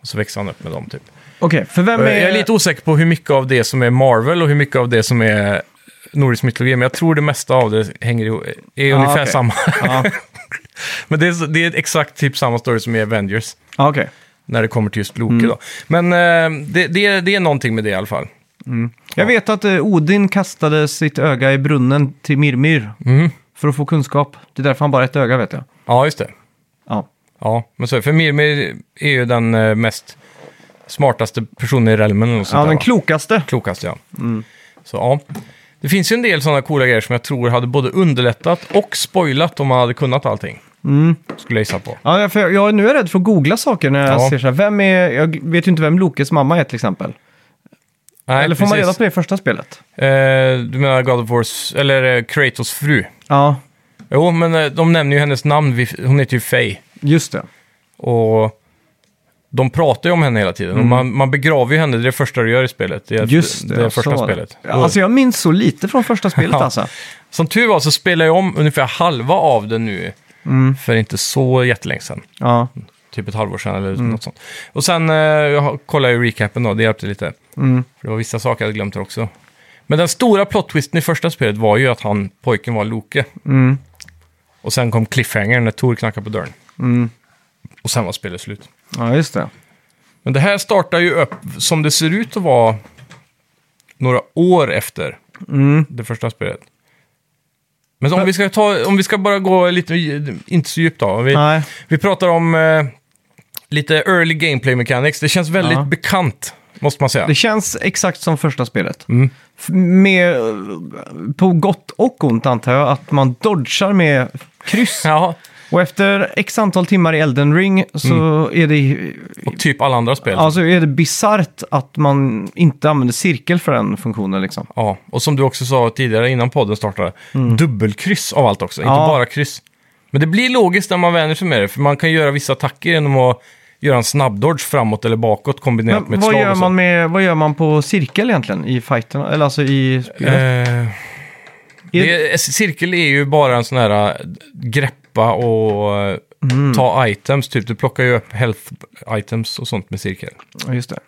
S1: Och så växte han upp med dem typ.
S2: Okej, för vem är...
S1: Jag är lite osäker på hur mycket av det som är Marvel och hur mycket av det som är nordisk mytologi, men jag tror det mesta av det hänger ihop, är ungefär
S2: okej.
S1: samma.
S2: Ja,
S1: Men det är, så- det är exakt typ samma story som i Avengers,
S2: ja okej.
S1: när det kommer till just Loki
S2: Mm.
S1: då. Men eh, det, det, är- det är någonting med det i alla fall.
S2: Jag vet att eh, Odin kastade sitt öga i brunnen till Mirmyr för att få kunskap. Det är därför han bara har ett öga vet jag.
S1: Ja, just det.
S2: Ja,
S1: Ja, men så, är det. för Mirmir är ju den eh, mest smartaste personen i relmen. Och sånt
S2: ja
S1: där,
S2: den Mm.
S1: va?
S2: klokaste.
S1: Klokaste, ja. Så ja. Det finns ju en del sådana coola grejer som jag tror hade både underlättat och spoilat om man hade kunnat allting.
S2: Mm.
S1: Skulle jag gissa på.
S2: Ja, för jag, jag, nu är jag rädd för att googla saker när jag
S1: Ja.
S2: ser så här. Vem är, jag vet ju inte vem Lokes mamma är till exempel.
S1: Nej,
S2: Eller får man
S1: precis.
S2: reda på det i första spelet?
S1: Eh, du menar God of Wars, eller eh, Kratos fru?
S2: Ja,
S1: Jo, men eh, de nämner ju hennes namn, vid- hon heter ju Faye.
S2: just det.
S1: Och de pratar ju om henne hela tiden. Och man, man begraver ju henne, det är det första du gör i spelet. Det, är
S2: Mm. Just det,
S1: det, är första
S2: så var det.
S1: spelet.
S2: Ja, Alltså jag minns så lite från första spelet
S1: Ja.
S2: alltså.
S1: Som tur var så spelar jag om ungefär halva av den nu.
S2: Mm.
S1: För inte så jättelänge sedan.
S2: Ja,
S1: Typ ett halvår sedan eller
S2: Mm.
S1: något sånt. Och sen eh, jag har- kollade jag ju recapen då, det hjälpte lite.
S2: Mm.
S1: För det var vissa saker jag hade glömt där också. Men den stora plot-twisten i första spelet var ju att han, pojken var Loke.
S2: Mm.
S1: Och sen kom cliffhangern när Tor knackade på dörren.
S2: Mm.
S1: Och sen var spelet slut.
S2: ja just det.
S1: Men det här startar ju upp, som det ser ut att vara, några år efter
S2: Mm.
S1: det första spelet. Men om vi, ska ta, om vi ska bara gå lite, inte så djupt då. Om Vi,
S2: Nej.
S1: vi pratar om eh, lite early gameplay mechanics. Det känns väldigt
S2: Ja.
S1: bekant, måste man säga.
S2: Det känns exakt som första spelet.
S1: Mm.
S2: F- Med, eh, på gott och ont antar jag, att man dodgar med kryss.
S1: Ja,
S2: Och efter x antal timmar i Elden Ring så
S1: Mm.
S2: är det,
S1: och typ alla andra spel.
S2: alltså är det bisarrt att man inte använder cirkel för den funktionen liksom.
S1: Ja, och som du också sa tidigare innan podden startade, dubbelkryss av allt också, inte
S2: Mm. Ja.
S1: bara kryss. Men det blir logiskt när man vänjer sig med det, för man kan göra vissa attacker genom att göra en snabbdodge framåt eller bakåt kombinerat med
S2: Men
S1: ett
S2: vad
S1: slag
S2: gör,
S1: och så.
S2: man med, vad gör man på cirkel egentligen i fighterna? Eller alltså i spelet?
S1: Eh, det är, cirkel är ju bara en sån här eh, greppa och eh,
S2: Mm.
S1: ta items, typ. Du plockar ju upp health items och sånt med cirkel.
S2: Ja, Just det.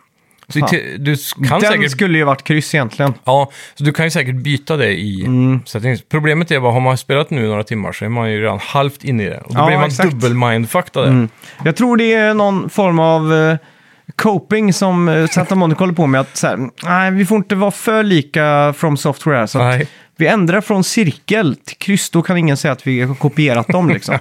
S1: Så
S2: Fan.
S1: te- du s- kan
S2: den
S1: säkert...
S2: skulle ju varit kryss egentligen.
S1: Ja, så du kan ju säkert byta det i
S2: Mm.
S1: settings. Problemet är bara, har man spelat nu några timmar så är man ju redan halvt inne i det. Och då
S2: Ja,
S1: blir man
S2: exakt. Mm,
S1: dubbel-mindfuckad där.
S2: Jag tror det är någon form av eh, coping som eh, Santa Monica håller på med. Att så här, nej, vi får inte vara för lika from software här. Så att
S1: Nej,
S2: vi ändrar från cirkel till kryss, då kan ingen säga att vi har kopierat dem liksom.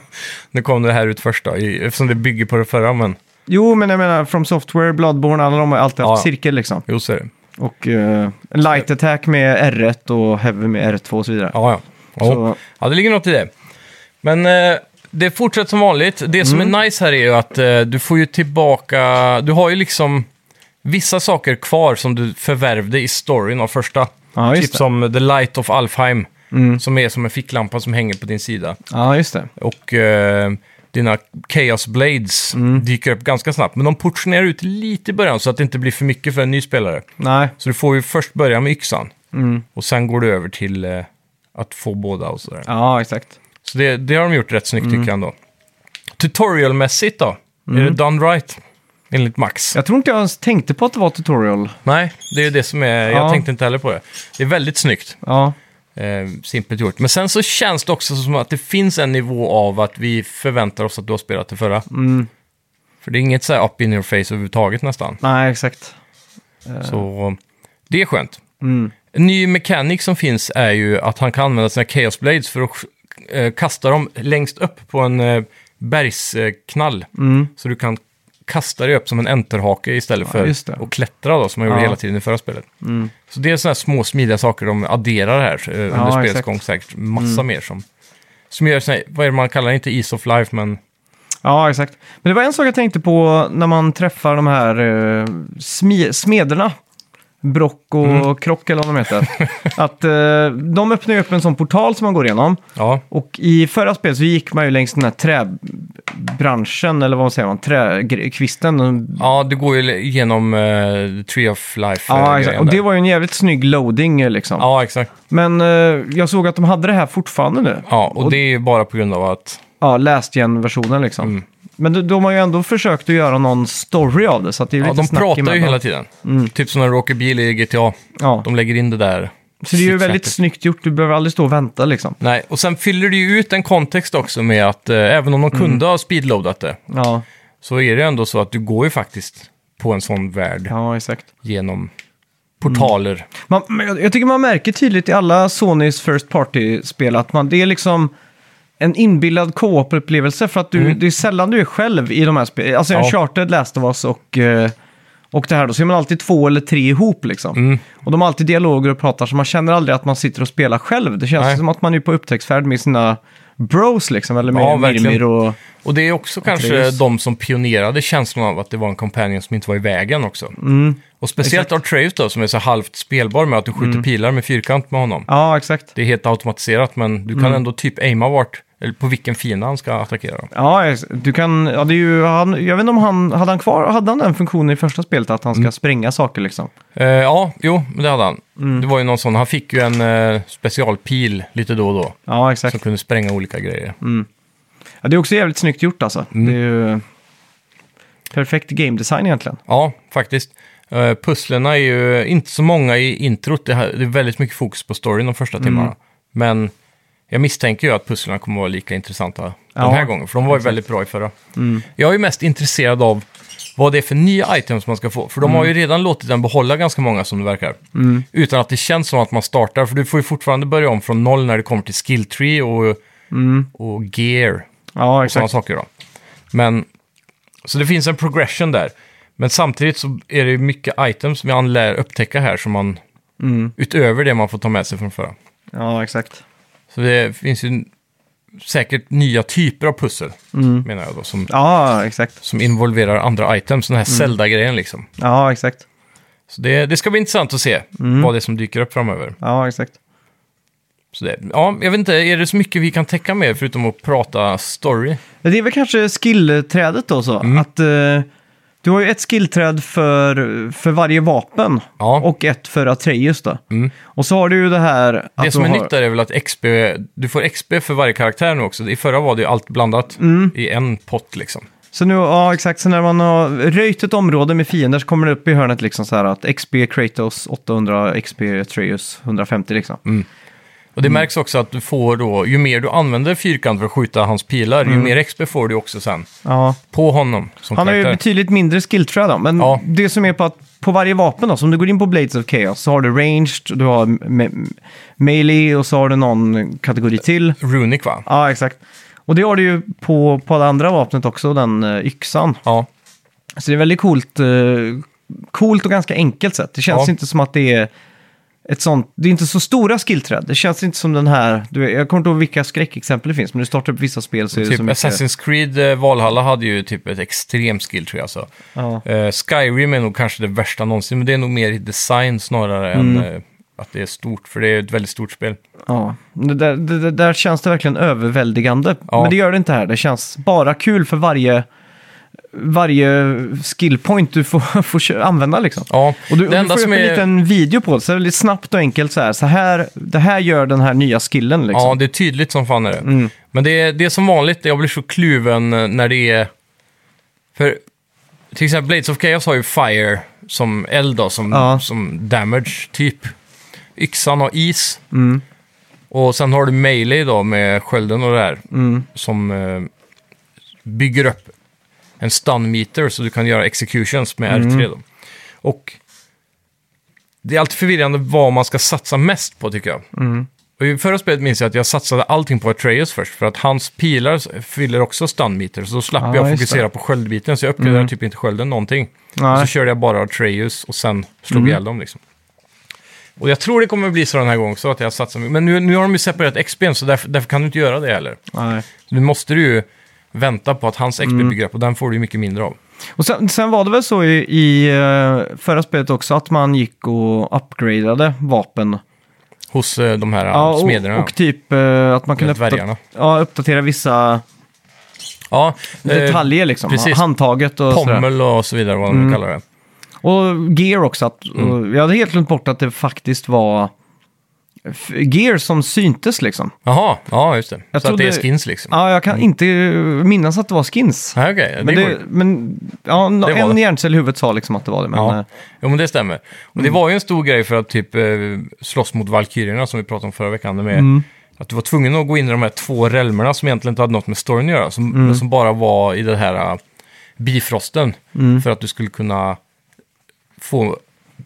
S1: nu kom det här ut första, i- eftersom det bygger på det förra, men
S2: jo, men jag menar from software, Bloodborne, alla de har alltid haft
S1: Ja.
S2: cirkel liksom.
S1: jo så är det.
S2: Och eh, light attack med R1 och heavy med R2 och så vidare.
S1: Ja, ja. Jo.
S2: Så-
S1: Ja, det ligger något i det. Men eh, det fortsätter som vanligt. Det som
S2: Mm.
S1: är nice här är ju att eh, du får ju tillbaka... Du har ju liksom vissa saker kvar som du förvärvde i storyn av första.
S2: Ja, just
S1: typ
S2: det. Mm.
S1: som The Light of Alfheim, som är som en ficklampa som hänger på din sida.
S2: Ja, just det.
S1: Och eh, dina Chaos Blades dyker upp ganska snabbt. Men de portionerar ut lite i början så att det inte blir för mycket för en ny spelare.
S2: Nej,
S1: Så du får ju först börja med yxan. Och sen går du över till eh, att få båda och sådär.
S2: ja exakt.
S1: Så det, det har de gjort rätt snyggt tycker jag ändå. Tutorialmässigt då? Är det done right? Enligt Max?
S2: Jag tror inte jag ens tänkte på att det var tutorial.
S1: Nej, det är ju det som är... Jag
S2: Ja.
S1: tänkte inte heller på det. Det är väldigt snyggt.
S2: Ja,
S1: Eh, simpelt gjort. Men sen så känns det också som att det finns en nivå av att vi förväntar oss att du har spelat det förra. För det är inget så här up in your face överhuvudtaget nästan.
S2: nej exakt.
S1: Så det är skönt.
S2: Mm.
S1: En ny mekanik som finns är ju att han kan använda sina Chaos Blades för att eh, kasta dem längst upp på en eh, bergsknall.
S2: Mm.
S1: Så du kan kasta dig upp som en enterhake istället för
S2: just det.
S1: att klättra då, som man gjorde
S2: Ja. Mm.
S1: hela tiden i förra spelet. Så det är sådana här små smidiga saker de adderar här eh, under spelets
S2: exakt. Mm.
S1: gång säkert. Massa mer som, som gör, såna här, vad är det man kallar det, inte Ease of Life, men
S2: Ja, exakt. Men det var en sak jag tänkte på när man träffar de här eh, smi- smederna. Brock och Krock eller vad de heter. att eh, de öppnar ju upp en sån portal som man går igenom.
S1: ja.
S2: Och i förra spelet så gick man ju längs den här träbranschen, eller vad säger man, träkvisten. Den-
S1: Ja, det går ju genom eh, Tree of Life. eh,
S2: Ja, exakt.
S1: grejen
S2: Och det
S1: där.
S2: var ju en jävligt snygg loading eh, liksom.
S1: Ja, exakt.
S2: Men eh, jag såg att de hade det här fortfarande nu.
S1: Ja, och, det är ju bara på grund av att...
S2: Ja, läst igen versionen liksom.
S1: Mm.
S2: Men de, de har ju ändå försökt att göra någon story av det, så att det är
S1: Ja,
S2: lite
S1: de
S2: snack
S1: pratar ju
S2: emellan. Mm.
S1: hela tiden. Typ som när du åker bil i GTA.
S2: Ja.
S1: De lägger in det där.
S2: Så det är ju väldigt
S1: sitt sätt.
S2: snyggt gjort, du behöver aldrig stå och vänta liksom.
S1: Nej, och sen fyller det ju ut en kontext också med att eh, även om de kunde
S2: Mm.
S1: ha speedloadat det
S2: Ja,
S1: så är det ändå så att du går ju faktiskt på en sån värld
S2: ja Mm. exakt.
S1: genom portaler.
S2: Man, men jag, jag tycker man märker tydligt i alla Sonys First Party-spel att man, det är liksom en inbillad co-op-upplevelse för att du, det är sällan du är själv i de här spelen. Alltså
S1: Mm. Ja.
S2: en Chartered Last of Us och, eh, och det här då, så är man alltid två eller tre ihop liksom.
S1: Mm.
S2: Och de har alltid dialoger och pratar så man känner aldrig att man sitter och spelar själv. Det känns
S1: Nej.
S2: som att man är på upptäcktsfärd med sina bros liksom, eller med
S1: Ja, verkligen.
S2: Mirmir och...
S1: Och det är också kanske
S2: Atreus.
S1: de som pionerade känslan av att det var en companion som inte var i vägen också.
S2: Mm.
S1: Och speciellt Atreus då, som är så halvt spelbar med att du
S2: Mm.
S1: skjuter pilar med fyrkant med honom.
S2: Ja, exakt.
S1: Det är helt automatiserat, men du kan ändå typ aima vart, eller på vilken fiende han ska attackera. Då.
S2: Ja, ex- du kan, ja, det är ju, han, jag vet inte om han, hade han kvar, hade han den funktionen i första spelet att han
S1: Mm.
S2: ska spränga saker liksom?
S1: Eh, ja, jo, men det hade han. Det var ju någon sån, han fick ju en eh, specialpil lite då och då,
S2: Ja, exakt.
S1: som kunde spränga olika grejer.
S2: Ja, det är också jävligt snyggt gjort alltså.
S1: Mm.
S2: Det är ju perfekt game design egentligen.
S1: Ja, faktiskt. Uh, pusslerna är ju inte så många i introt. Det, här, det är väldigt mycket fokus på storyn de första timmarna. Men jag misstänker ju att pusslerna kommer vara lika intressanta
S2: Ja,
S1: den här gången. För de var ju väldigt bra i förra. Jag är ju mest intresserad av vad det är för nya items man ska få. För de har ju redan låtit den behålla ganska många som det verkar. Utan att det känns som att man startar. För du får ju fortfarande börja om från noll när det kommer till skill tree och, och gear
S2: Ja,
S1: och sådana
S2: exakt.
S1: saker. Då. Men, så det finns en progression där. Men samtidigt så är det ju mycket items som man lär upptäcka här som man utöver det man får ta med sig från förra.
S2: Ja, exakt.
S1: Så det finns ju säkert nya typer av pussel, menar jag då, som,
S2: Ja, exakt.
S1: som involverar andra items, den här Zelda-grejen liksom.
S2: Ja, exakt.
S1: Så det, det ska bli intressant att se vad det är som dyker upp framöver.
S2: Ja, exakt.
S1: Så det, ja, jag vet inte, är det så mycket vi kan täcka med förutom att prata story?
S2: Men Det är väl kanske skillträdet då så.
S1: Mm.
S2: Att, eh, du har ju ett skillträd för, för varje vapen
S1: Ja. Mm.
S2: och ett för Atreus då. Och så har du ju det här... Att
S1: Det som
S2: du
S1: är
S2: har...
S1: nytt där är väl att XP, du får XP för varje karaktär nu också. I förra var det ju allt blandat i en pott liksom.
S2: Så nu, ja exakt, så när man har röjt ett område med fiender så kommer det upp i hörnet liksom så här att XP Kratos 800, XP Atreus 150 liksom.
S1: Mm. Och
S2: Mm.
S1: det märks också att du får då, ju mer du använder fyrkant för att skjuta hans pilar, ju mer XP får du också sen
S2: Ja.
S1: på honom som
S2: Mm. Han har ju
S1: karaktär.
S2: betydligt mindre skillträ då, men
S1: Ja.
S2: det som är på att på varje vapen då, så om du går in på Blades of Chaos så har du ranged, du har me- melee och så har du någon kategori till.
S1: Runic va?
S2: Ja, exakt. Och det har du ju på, på det andra vapnet också, den eh, yxan.
S1: Ja.
S2: Så det är väldigt coolt, eh, coolt och ganska enkelt sätt. Det känns
S1: Ja.
S2: inte som att det är ett sånt, det är inte så stora skillträd. Det känns inte som den här, du, vet- jag kommer inte ihåg vilka skräckexempel det finns, men du startar upp vissa spel så är det så
S1: Typ
S2: mycket.
S1: Assassin's Creed eh, Valhalla hade ju typ ett extremt skill tror jag. Så.
S2: Ja.
S1: Eh, Skyrim är nog kanske det värsta någonsin, men det är nog mer i design snarare än
S2: Mm.
S1: eh, att det är stort, för det är ett väldigt stort spel.
S2: Ja, det där, det, det där känns det verkligen överväldigande.
S1: Ja.
S2: Men det gör det inte här. Det känns bara kul för varje, varje skillpoint du får, får kö- använda liksom.
S1: Ja,
S2: Och du,
S1: det
S2: och du
S1: enda
S2: får
S1: som
S2: upp en
S1: är...
S2: liten video på det, så det är väldigt snabbt och enkelt så här. Så här, det här gör den här nya skillen liksom. Mm.
S1: Ja, det är tydligt som fan är det. Men det är, det är som vanligt, jag blir så kluven eh, när det är... För till exempel Blades of Chaos har ju Fire som eld då, som,
S2: Ja.
S1: som damage typ. Yxan har is.
S2: Mm.
S1: Och sen har du Melee då med skölden och det här.
S2: Mm.
S1: Som eh, bygger upp en stun meter så du kan göra executions med
S2: Mm.
S1: R3 då.
S2: Mm.
S1: Och det är alltid förvirrande vad man ska satsa mest på tycker jag. Och I förra spelet minns jag att jag satsade allting på Atreus först, för att hans pilar fyller också stunmeter, så då slapp
S2: Ah,
S1: jag
S2: just Mm.
S1: fokusera på sköldbiten, så jag uppgraderade typ inte skölden någonting.
S2: Nej. Mm.
S1: Så körde jag bara Atreus och sen slog ihjäl dem liksom. Och jag tror det kommer bli så den här gången också, att jag satsar mycket. Men nu, nu har de ju separerat XP'n, så därför, därför kan du inte göra det heller.
S2: Nej.
S1: Nu måste du ju vänta på att hans XP
S2: Mm.
S1: bygger upp, och den får du ju mycket mindre av.
S2: Och sen, sen var det väl så i, i eh, förra spelet också att man gick och upgradeade vapen.
S1: Hos eh, de här ja,
S2: Ja,
S1: smederna.
S2: och, och typ eh, att man kunde
S1: dvärgarna.
S2: uppda- ja, uppdatera vissa
S1: ja, eh,
S2: detaljer liksom.
S1: precis.
S2: Handtaget och sådär. Mm.
S1: Pommel och så vidare, vad de nu kallar det.
S2: Och gear också. Att,
S1: Mm.
S2: och jag hade helt glömt bort att det faktiskt var f- gear som syntes liksom.
S1: Jaha, ja just det.
S2: Jag
S1: så att det är
S2: trodde-
S1: skins liksom.
S2: Ja, jag kan inte eh, minnas att det var skins.
S1: Nej, okej. det
S2: Men,
S1: går
S2: det,
S1: ju.
S2: men ja, nå-
S1: Det var
S2: en
S1: det.
S2: hjärncell i huvudet sa liksom att det var det. Men,
S1: Ja.
S2: eh, Mm.
S1: Jo, men det stämmer. Och det var ju en stor grej för att typ eh, slåss mot Valkyrierna som vi pratade om förra veckan. Med
S2: Mm.
S1: Att du var tvungen att gå in i de här två relmerna som egentligen inte hade något med storyn att göra. Som,
S2: Mm.
S1: som bara var i det här eh, bifrosten.
S2: Mm.
S1: För att du skulle kunna få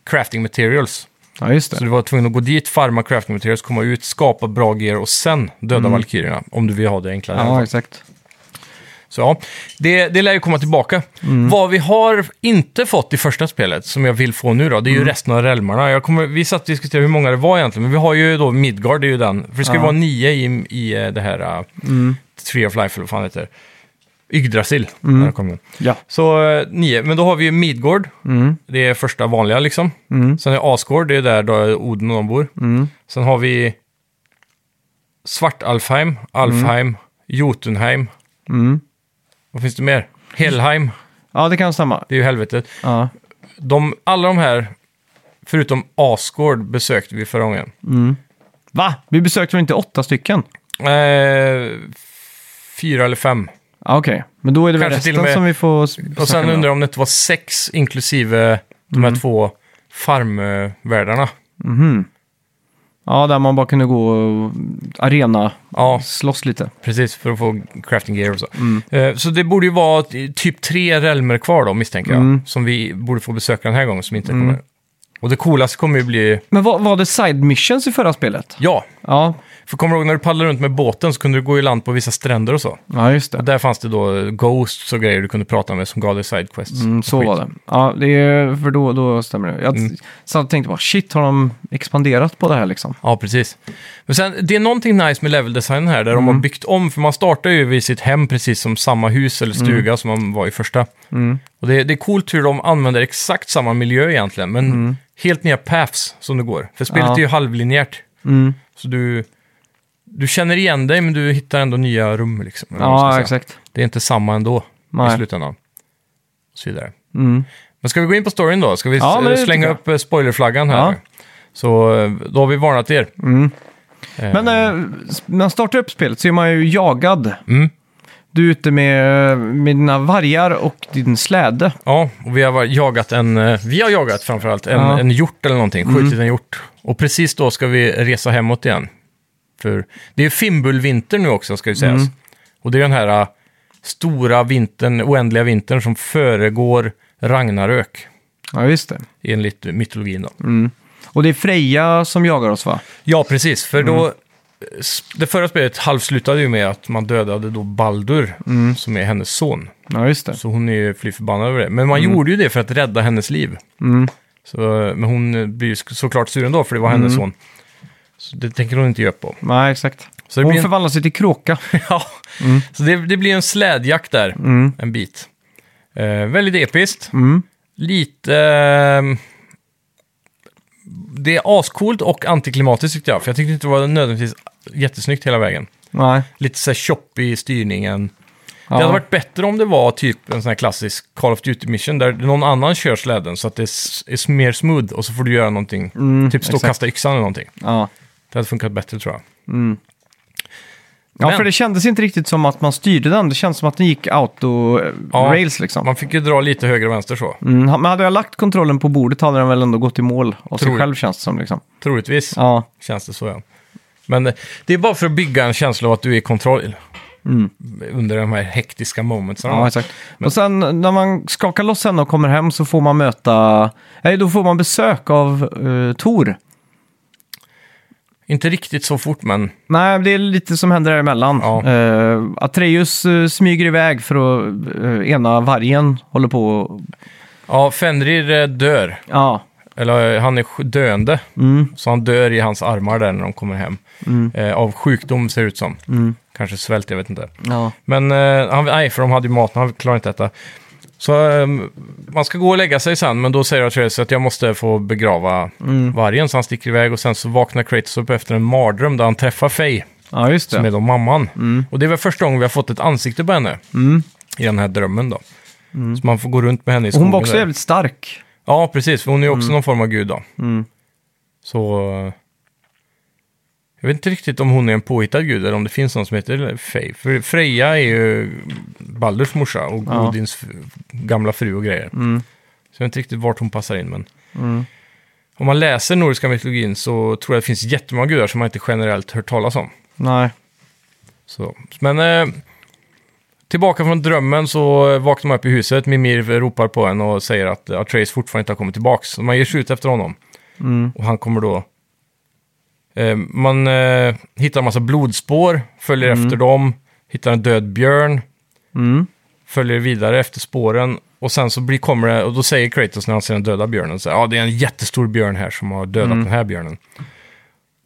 S1: crafting materials.
S2: ja, just
S1: Så
S2: det.
S1: du var tvungen att gå dit, farma crafting materials, komma ut, skapa bra gear och sen döda Valkyrierna. Om du vill ha det enklare.
S2: Mm. Ja, exakt.
S1: Så ja, det, det lär ju komma tillbaka. Vad vi har inte fått i första spelet, som jag vill få nu då, det är ju resten av relmarna. Jag kommer, vi satt och diskuterade hur många det var egentligen, men vi har ju då Midgard, det är ju den. För det ska ju
S2: Ja.
S1: vara nio i, i eh, det här uh, Tree of Life, eller vad fan det heter. Yggdrasil, när det kommer.
S2: Ja.
S1: Så eh, nio, men då har vi ju Midgård, det är första vanliga liksom. Sen är Asgård, det är där då Oden och de bor. Sen har vi Svartalfheim, Alfheim, Jotunheim. Vad finns det mer? Helheim,
S2: ja, det kan stämma.
S1: det är ju helvetet.
S2: Ja.
S1: De, alla de här, förutom Asgård, besökte vi förra gången.
S2: Va? Vi besökte väl inte åtta stycken?
S1: Eh, fyra eller fem.
S2: Ja, Okej, men då är det väl
S1: Kanske till
S2: resten
S1: och med-
S2: som vi får s-
S1: Och
S2: besöka
S1: sen
S2: nu.
S1: undrar jag om det inte var sex inklusive de här två farmvärdarna.
S2: Ja, där man bara kunde gå och arena,
S1: Ja.
S2: slåss lite.
S1: Precis, för att få crafting gear och så.
S2: Mm.
S1: Eh, Så det borde ju vara t- typ tre relmer kvar då, misstänker jag.
S2: Mm.
S1: Som vi borde få besöka den här gången, som inte kommer. Och det coolaste kommer ju bli...
S2: Men var, var det side missions i förra spelet?
S1: Ja,
S2: Ja,
S1: för kommer du ihåg när du paddlade runt med båten så kunde du gå i land på vissa stränder och så.
S2: ja just
S1: Och
S2: det.
S1: där fanns det då eh, Ghosts och grejer du kunde prata med som gav dig sidequests.
S2: Mm, så
S1: Skit. Mm.
S2: var det. Ja, det är, för då, då stämmer det. Jag satt och tänkte bara, shit, har de expanderat på det här liksom?
S1: Ja, precis. Men sen, det är någonting nice med leveldesignen här, där
S2: Mm.
S1: de har byggt om, för man startar ju vid sitt hem precis som samma hus
S2: Mm.
S1: eller stuga som man var i första. Och det, det är coolt hur de använder exakt samma miljö egentligen, men helt nya paths som det går. För spelet
S2: Mm. Ja.
S1: är ju halvlinjärt,
S2: Mm.
S1: så du, du känner igen dig, men du hittar ändå nya rum liksom. eller vad man ska
S2: Ja,
S1: säga.
S2: exakt.
S1: Det är inte samma ändå i
S2: Nej.
S1: slutändan. Och så vidare.
S2: Mm.
S1: Men ska vi gå in på storyn då? Ska vi
S2: Ja,
S1: s-
S2: men det
S1: slänga
S2: tycker jag.
S1: upp eh, spoilerflaggan här?
S2: Ja.
S1: nu? Så eh, då har vi varnat er. Eh,
S2: Men eh, s- när man startar upp spelet så är man ju jagad.
S1: Mm.
S2: Du är ute med, med dina vargar och din släde.
S1: Ja, och vi har var- jagat en, eh, vi har jagat framförallt en,
S2: Ja.
S1: en hjort eller någonting, skjutit en hjort. Och precis då ska vi resa hemåt igen. För det är ju fimbulvinter nu också, ska ju sägas. Och det är den här eh, stora vintern, oändliga vintern som föregår Ragnarök,
S2: Ja, just det.
S1: enligt mytologin då.
S2: Och det är Freja som jagar oss va?
S1: Ja, precis. För då... s- Det förra spelet halvslutade ju med att man dödade då Baldur, som är hennes son.
S2: Ja, just det.
S1: Så hon är ju fly förbannad över det. Men man gjorde ju det för att rädda hennes liv. Så, men hon eh, blir ju sk- såklart suren då, för det var hennes son. Så det tänker hon inte ge upp på.
S2: Nej, exakt.
S1: Så det,
S2: Hon
S1: blir en,
S2: förvandlar sig till kråka.
S1: ja. så det, det blir en slädjakt där,
S2: Mm.
S1: en bit. Eh, väldigt episkt. Lite... ehm, det är ascoolt och antiklimatiskt tyckte jag, för jag tyckte inte det var nödvändigtvis jättesnyggt hela vägen.
S2: Nej.
S1: Lite så här choppy i styrningen.
S2: Ja.
S1: Det hade varit bättre om det var typ en sån här klassisk Call of Duty Mission där någon annan kör släden så att det är, s- är mer smooth och så får du göra någonting. typ stå och
S2: Mm, exakt.
S1: kasta yxan eller någonting.
S2: Ja.
S1: Det hade funkat bättre tror jag.
S2: Ja,
S1: Men-
S2: för det kändes inte riktigt som att man styrde den. Det kändes som att den gick
S1: Ja,
S2: auto-rails liksom.
S1: Man fick ju dra lite höger och vänster så,
S2: Mm, ha- men hade jag lagt kontrollen på bordet hade den väl ändå gått i mål av sig
S1: Tror-
S2: själv känns det som. Liksom.
S1: troligtvis.
S2: Ja,
S1: Känns det så ja. Men eh, det är bara för att bygga en känsla av att du är i kontroll. Under de här hektiska momentsen.
S2: Mm. ja exakt. Och sen när man skakar loss henne och kommer hem så får man eh, möta... Nej, då får man besök av uh, Tor.
S1: Inte riktigt så fort, men
S2: Nej, det är lite som händer däremellan.
S1: Ja.
S2: Eh, Atreus eh, smyger iväg för att eh, ena vargen håller på och...
S1: ja, Fenrir eh, dör.
S2: Ja,
S1: Eller eh, han är sj- döende.
S2: Mm.
S1: Så han dör i hans armar där när de kommer hem. Eh, av sjukdom ser det ut som.
S2: Mm.
S1: Kanske svält, jag vet inte.
S2: ja.
S1: Men eh, han, nej, för de hade ju mat, men han klarade inte detta. Så eh, man ska gå och lägga sig sen, men då säger Atreus att jag måste få begrava
S2: Mm.
S1: vargen. Så han sticker iväg och sen så vaknar Kratos upp efter en mardröm där han träffar Faye,
S2: ja Mm. just det.
S1: som är då mamman. Och det är väl första gången vi har fått ett ansikte på henne i den här drömmen då. Så man får gå runt med henne
S2: Mm.
S1: i
S2: Och
S1: skogen.
S2: hon var också
S1: där.
S2: jävligt stark.
S1: Ja, precis. För hon är ju också någon form av gud då. Så... eh, Jag vet inte riktigt om hon är en påhittad gud eller om det finns någon som heter Fej. För Freja är ju Balders morsa och
S2: Ja.
S1: Odins f- gamla fru och grejer. Så jag vet inte riktigt vart hon passar in, men... Om man läser nordiska mytologin så tror jag det finns jättemånga gudar som man inte generellt hört talas om.
S2: Nej.
S1: Så. Men eh, tillbaka från drömmen så vaknar man upp i huset. Mimir ropar på en och säger att Atreus fortfarande inte har kommit tillbaka. Så man ger sig ut efter honom. Och han kommer då... Eh, man eh, hittar en massa blodspår, följer efter dem, hittar en död björn,
S2: Mm.
S1: följer vidare efter spåren. Och sen så blir, kommer det, och då säger Kratos när han ser den döda björnen, så här, ja det är en jättestor björn här som har dödat den här björnen.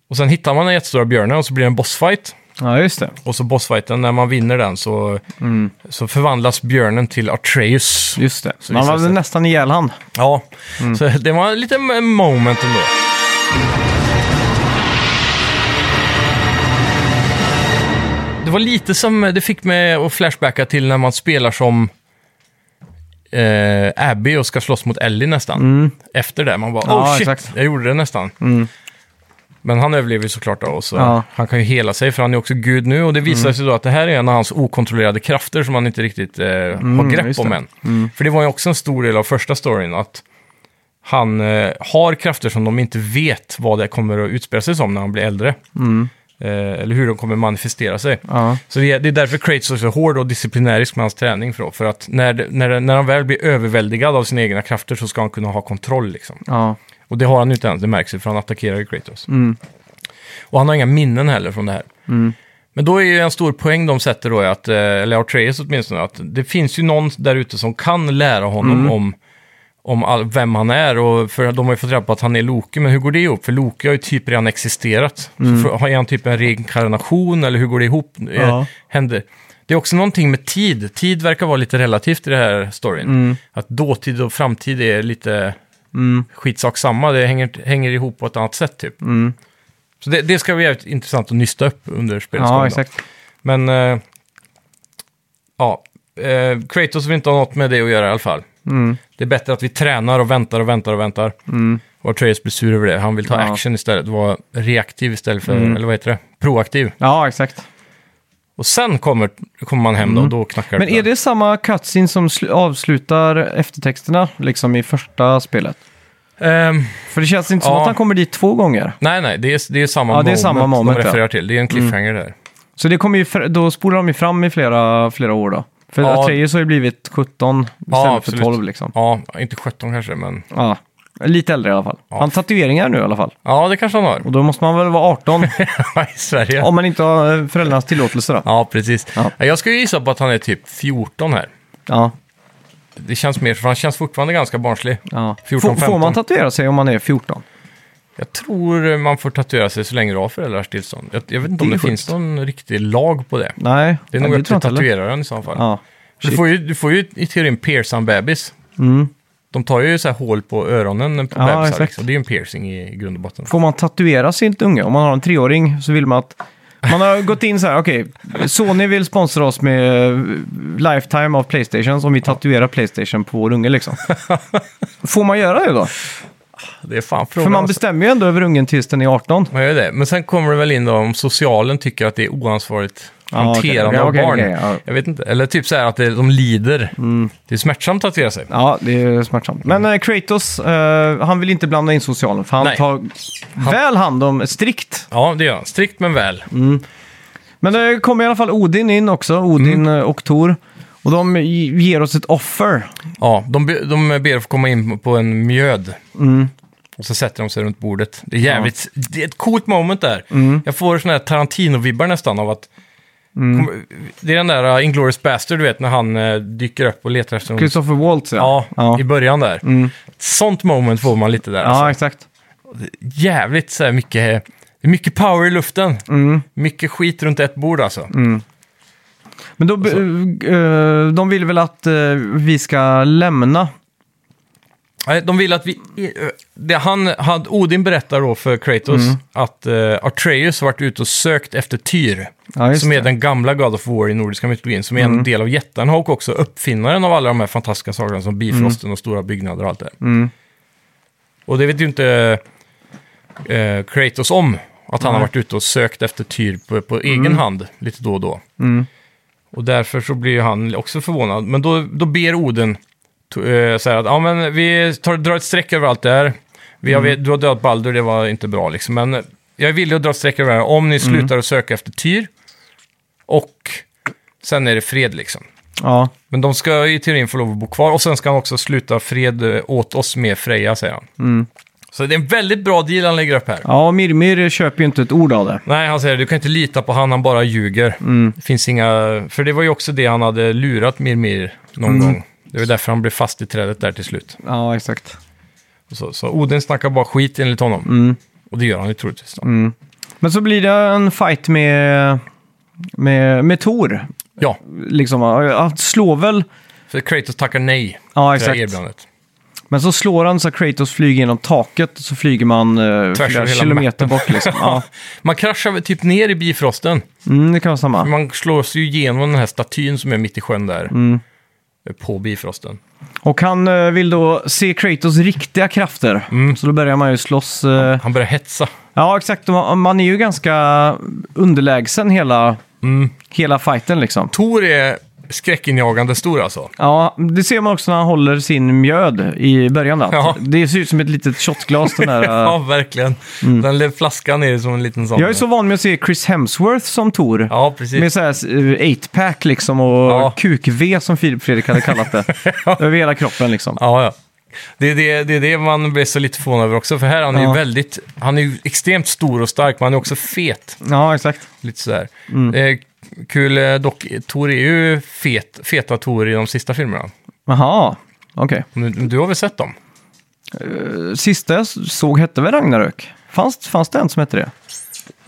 S1: Och sen hittar man den jättestora björnen och så blir det en bossfight.
S2: Ja, just det.
S1: Och så bossfighten, när man vinner den så, så förvandlas björnen till Atreus.
S2: Just det.
S1: Så
S2: Man
S1: visar
S2: var
S1: sig.
S2: nästan ihjäl han.
S1: Ja, så det var en liten moment ändå. Det var lite som, det fick mig att flashbacka till när man spelar som eh, Abby och ska slåss mot Ellie nästan. Efter det, man bara
S2: Mm. Ja,
S1: oh shit,
S2: exakt. Mm.
S1: jag gjorde det nästan. Men han överlever ju såklart då, och så
S2: Ja. Mm.
S1: han kan ju hela sig för han är också gud nu. Och det visar sig då att det här är en av hans okontrollerade krafter som han inte riktigt eh,
S2: Mm.
S1: har grepp
S2: just
S1: om
S2: det. Mm.
S1: än. För det var ju också en stor del av första storyn, att han eh, har krafter som de inte vet vad det kommer att utspela sig som när han blir äldre. Eh, eller hur de kommer manifestera sig.
S2: Mm. Ja.
S1: Så det är, det är därför Kratos är så hård och disciplinärisk med hans träning. För, då, för att när, det- när, det- när han väl blir överväldigad av sina egna krafter så ska han kunna ha kontroll. Liksom.
S2: Ja.
S1: Och det har han ju inte ens, det märks ju, för han attackerar ju Kratos. Och han har inga minnen heller från det här. Men då är ju en stor poäng de sätter då, är att, eh, eller Atreus åtminstone, att det finns ju någon där ute som kan lära honom om, om all, vem han är. Och för de har ju fått reda på att han är Loki, men hur går det ihop? För Loki har ju typ redan existerat. Så för, har är han typ en reinkarnation, eller hur går det ihop? Eh,
S2: Ja.
S1: Händer. Det är också någonting med tid. Tid verkar vara lite relativt i det här storyn. Att dåtid och framtid är lite
S2: Mm.
S1: skitsak samma. Det hänger, hänger ihop på ett annat sätt typ.
S2: Mm.
S1: Så det, det ska bli jävligt intressant att nysta upp under spelets gång
S2: ja,
S1: då.
S2: exakt.
S1: Men, eh, ja. Eh, Kratos vill inte ha något med det att göra i alla fall.
S2: Mm.
S1: Det är bättre att vi tränar och väntar och väntar och väntar. Och Atreus blir sur över det. Han vill ta
S2: Ja. Mm.
S1: action istället. Vara reaktiv istället för, eller vad heter det? Proaktiv.
S2: Ja, exakt.
S1: Och sen kommer, kommer man hem då, och då knackar
S2: Mm. Men är det samma cutscene som sl- avslutar eftertexterna, liksom i första spelet?
S1: Ehm,
S2: För det känns inte som
S1: Ja.
S2: att han kommer dit två gånger.
S1: nej, nej, det är, det är samma
S2: Ja,
S1: moment
S2: det är samma moment,
S1: de
S2: ja. Mm.
S1: refererar till. Det är en cliffhanger där.
S2: Så det kommer ju, fr- då spolar de ju fram i flera, flera år då. För
S1: Ja.
S2: Atreus har ju blivit 17 istället
S1: Ja,
S2: för
S1: absolut.
S2: 12 liksom.
S1: Ja, inte 17 kanske, men...
S2: Ja. Lite äldre i alla fall. Han har tatueringar nu i alla fall.
S1: Ja, det kanske han har.
S2: Och då måste man väl vara 18
S1: I Sverige.
S2: om man inte har eh, föräldrarnas tillåtelse då.
S1: Ja, precis.
S2: Ja.
S1: Jag skulle gissa på att han är typ 14 här.
S2: Ja.
S1: Det känns mer, för han känns fortfarande ganska barnslig.
S2: ja.
S1: 14,
S2: får, får man
S1: 15.
S2: tatuera sig om man är 14?
S1: Jag tror eh, man får tatuera sig så länge du har föräldrars tillstånd. Jag, jag vet inte om
S2: Det
S1: det
S2: är
S1: finns någon riktig lag på det.
S2: Nej,
S1: Det är
S2: ja,
S1: nog upp
S2: tror jag
S1: till
S2: inte heller.
S1: tatueraren i så fall.
S2: Ja.
S1: du, får ju, du får ju i teorin pierca en bebis. De tar ju så här hål på öronen på
S2: Mm. Ja,
S1: bebisar.
S2: exakt.
S1: Liksom. Det är ju en piercing i grund och botten.
S2: Får man tatuera sin unge? Om man har en treåring så vill man att... Man har gått in så här, okej, Sony vill sponsra oss med eh, Lifetime av Playstation, om vi tatuerar Playstation på vår unge liksom. Får man göra det då?
S1: Det är fan
S2: För
S1: frågan.
S2: man
S1: alltså.
S2: bestämmer ju ändå över ungen tills den är 18.
S1: man gör det. Men sen kommer det väl in då om socialen tycker att det är oansvarigt
S2: okej,
S1: hanterande
S2: okej,
S1: av barn.
S2: okej, ja. Mm.
S1: Jag vet inte. Eller typ så här att det, de lider. Det är smärtsamt att tatuera sig.
S2: Ja, det är smärtsamt. Men eh, Kratos, eh, han vill inte blanda in socialen, för han
S1: Nej.
S2: tar väl hand om strikt.
S1: Ja, det gör han. Strikt men väl.
S2: Mm. Men det kommer i alla fall Odin in också, Odin
S1: Mm.
S2: eh, och Tor. Och de ge- ger oss ett offer. Mm.
S1: Ja, de, be- de ber att få komma in på en mjöd. Och så sätter de sig runt bordet. Det är jävligt... Det är ett coolt moment där.
S2: Mm.
S1: Jag får såna här Tarantino-vibbar nästan av att...
S2: Mm.
S1: Kommer- Det är den där uh, Inglourious Bastard, du vet, när han eh, dyker upp och letar efter... någon-
S2: Christopher Waltz,
S1: Ja,
S2: Ja, Mm.
S1: i början där. Sånt moment får man lite där. alltså.
S2: ja exakt.
S1: jävligt så här mycket, det är mycket power i luften. Mycket skit runt ett bord alltså.
S2: Men då, be- eh, de vill väl att eh, vi ska lämna?
S1: Nej, De vill att vi... Det han, han, Odin berättar då för Kratos att eh, Atreus har varit ute och sökt efter Tyr.
S2: Ja, just
S1: som är
S2: det. Mm.
S1: den gamla God of War i nordiska mytologin. Som är en del av jättarna och också uppfinnaren av alla de här fantastiska sagorna som Bifrosten och stora byggnader och allt det
S2: Mm.
S1: där. Och det vet ju inte eh, Kratos om. Att han har varit ute och sökt efter Tyr på, på
S2: Mm.
S1: egen hand lite då och då. Och därför så blir ju han också förvånad. Men då, då ber Oden to- eh, så här att ja, men vi tar, drar ett streck över allt det här. Vi har,
S2: Mm.
S1: vi- Du har dödat Baldur, det var inte bra liksom. Men eh, jag är villig att dra ett streck över det här om ni
S2: Mm.
S1: slutar att söka efter Tyr. Och sen är det fred liksom.
S2: Ja,
S1: Men de ska i teorin få lov att bo kvar och sen ska han också sluta fred eh, åt oss med Freja, säger han. Så det är en väldigt bra deal han lägger upp här.
S2: Mm. ja och Mirmir köper ju inte ett ord av det.
S1: Nej, han säger du kan inte lita på han, han bara ljuger.
S2: Mm.
S1: Det finns inga... För det var ju också det han hade lurat Mirmir någon
S2: Mm.
S1: gång. Det var därför han blev fast i trädet där till slut.
S2: Ja, exakt.
S1: Och Så, så Odin snackar bara skit enligt honom.
S2: Mm.
S1: Och det gör han ju troligtvis. då.
S2: Men så blir det en fight med, med, med Tor.
S1: Ja,
S2: Liksom, han slår väl...
S1: för Kratos tackar
S2: Ja,
S1: nej till det här
S2: exakt.
S1: erbjudandet.
S2: Men så slår han så att Kratos flyger genom taket och så flyger man eh,
S1: Tvärs
S2: flera
S1: över hela
S2: kilometer bort. Liksom. Ja.
S1: Man kraschar väl typ ner i bifrosten.
S2: Mm, det kan vara samma.
S1: Man slås ju igenom den här statyn som är mitt i sjön där.
S2: Mm.
S1: På bifrosten.
S2: Och han eh, vill då se Kratos riktiga krafter. Så då börjar man ju slåss. eh,
S1: Han börjar hetsa.
S2: Ja, exakt. Och Man, man är ju ganska underlägsen hela,
S1: Mm.
S2: hela fighten liksom.
S1: Tor är skräckinjagande stor alltså.
S2: Ja, det ser man också när han håller sin mjöd i början. Då.
S1: Ja.
S2: Det ser ut som ett litet shotglas. Den där, eh.
S1: Ja, verkligen. Den lilla flaskan är som en liten sån.
S2: Mm. Jag är så van med att se Chris Hemsworth som Tor.
S1: Ja, precis.
S2: Med såhär 8-pack liksom och
S1: Ja.
S2: kuk-V som Filip Fredrik hade kallat det. Över hela kroppen liksom.
S1: Ja, ja. Det är det, det är det man blir så lite förvånad över också. För här han är ju
S2: Ja.
S1: väldigt, han är ju extremt stor och stark, men han är också fet.
S2: Ja, exakt.
S1: Lite sådär.
S2: Mm.
S1: Eh, kul eh, dock, Tor är ju fet, feta Tor i de sista filmerna.
S2: Jaha, okej.
S1: Men Du, du har väl sett dem?
S2: Sista jag såg hette väl Ragnarök? Fanns, fanns det en som hette det?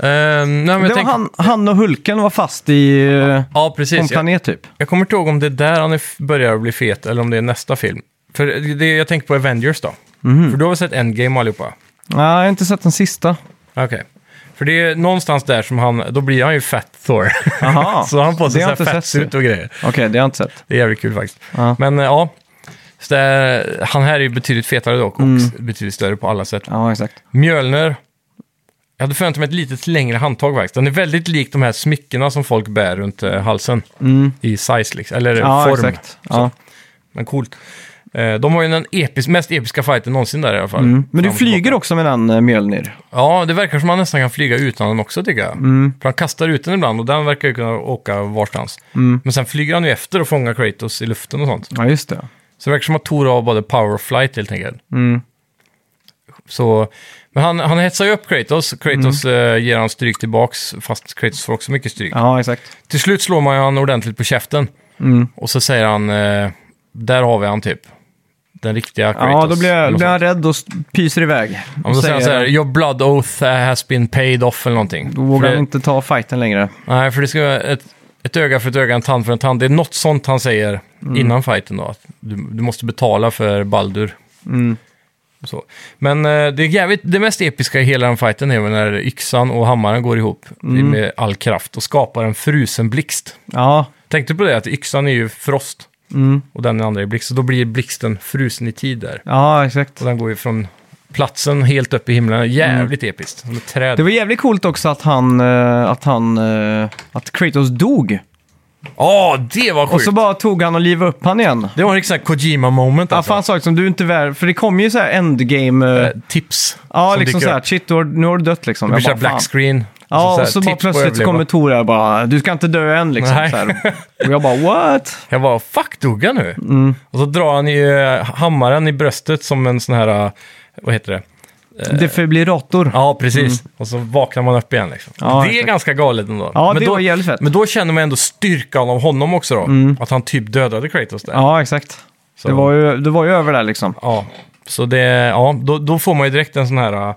S1: Eh, nej, men jag
S2: det
S1: tänker-
S2: var han, han och Hulken var fast i... eh,
S1: Ja,
S2: på en
S1: precis. Jag,
S2: planet typ.
S1: jag kommer inte ihåg om det är där han är, f- börjar bli fet eller om det är nästa film. För det, jag tänker på Avengers då.
S2: Mhm.
S1: För du har väl sett Endgame allihopa?
S2: Nej, jag har inte sett den sista.
S1: Okej. För det är någonstans där som han, då blir han ju Fat Thor.
S2: Jaha.
S1: så han får
S2: Det
S1: sig
S2: har jag
S1: så här
S2: inte
S1: fett
S2: sett,
S1: ut och grejer.
S2: Okej, det har jag inte sett.
S1: Det är jävligt kul faktiskt.
S2: Ja.
S1: Men eh, ja, så där, han här är ju betydligt fetare dock och
S2: Mm.
S1: s- betydligt större på alla sätt.
S2: Ja, exakt.
S1: Mjölner, jag hade förväntat mig ett lite längre handtag faktiskt. Den är väldigt lik de här smyckena som folk bär runt eh, halsen i size, liksom, eller
S2: Mm. Ja,
S1: form.
S2: exakt. Ja.
S1: Men coolt. Eh, de har ju den epis, mest episka fighten någonsin där i alla fall.
S2: Mm. Men du
S1: Fram och tillbaka.
S2: flyger också med den eh, Mjölnir.
S1: Ja, det verkar som att han nästan kan flyga utan den också tycker jag.
S2: Mm.
S1: För han kastar ut den ibland och den verkar ju kunna åka varstans.
S2: Mm.
S1: Men sen flyger han ju efter och fångar Kratos i luften och sånt.
S2: Ja, just det.
S1: Så det verkar som att Thor har både power och flight helt enkelt.
S2: Mm.
S1: Så, men han, han hetsar ju upp Kratos. Kratos eh, ger han stryk tillbaks, fast Kratos får också mycket stryk.
S2: Mm. Ja, exakt.
S1: Till slut slår man ju han ordentligt på käften.
S2: Mm.
S1: Och så säger han, eh, där har vi han typ. Den riktiga Kratos.
S2: Ja, då blir,
S1: Eller
S2: jag, blir
S1: något
S2: jag
S1: sånt.
S2: rädd och st- pyser iväg.
S1: Ja, men då säger han så här, your blood oath has been paid off eller någonting.
S2: Då vågar
S1: För
S2: han
S1: det,
S2: inte ta fighten längre.
S1: Nej, för det ska vara ett, ett öga för ett öga, en tand för en tand. Det är något sånt han säger
S2: Mm.
S1: innan fighten då. Att du, du måste betala för Baldur.
S2: Mm.
S1: Och Så. Men eh, det, är jävligt, det mest episka i hela den fighten är väl när yxan och hammaren går ihop
S2: Mm.
S1: med all kraft och skapar en frusen blixt.
S2: Ja, Mm.
S1: Tänkte du på det? Att yxan är ju frost och den andra är blixt. Så då blir blixten frusen i tid där.
S2: ja exakt.
S1: Och den går ju från platsen helt upp i himlen. Jävligt episkt. Som ett träd.
S2: Mm. Det var jävligt coolt också att han, eh, att han, eh, att Kratos dog.
S1: Ja, det var
S2: Och
S1: sjukt!
S2: så bara tog han och livade upp han igen.
S1: Det var en sån här Kojima-moment
S2: Ja,
S1: alltså.
S2: fan saker som du inte är värd, för det kom ju så här endgame... eh,
S1: Eh, tips.
S2: ja,
S1: som
S2: liksom
S1: dyker
S2: så här,
S1: upp.
S2: shit, du har, nu har du dött liksom.
S1: Det
S2: Jag
S1: blir så här
S2: bara, fan.
S1: black screen.
S2: Ja,
S1: Alltså, här,
S2: och så bara
S1: tips på att
S2: plötsligt
S1: överleva.
S2: kommer Tor här och bara du ska inte dö än liksom.
S1: Nej.
S2: Så här. Och jag bara what?
S1: Jag bara, fuck dog jag
S2: Mm.
S1: nu? Och så drar han ju eh, hammaren i bröstet som en sån här, eh, vad heter det?
S2: Defibrillator.
S1: Ja, precis. Och så vaknar man upp igen liksom.
S2: Mm. Ja,
S1: det är
S2: exakt.
S1: ganska galet ändå.
S2: Ja, det
S1: då,
S2: var jävligt fett. Mm.
S1: Men då känner man ändå styrkan av honom också då. Att han typ dödade Kratos där.
S2: Ja, exakt.
S1: så,
S2: Det var, ju, det var ju över där liksom.
S1: Ja, så det, ja då, då får man ju direkt en sån här äh,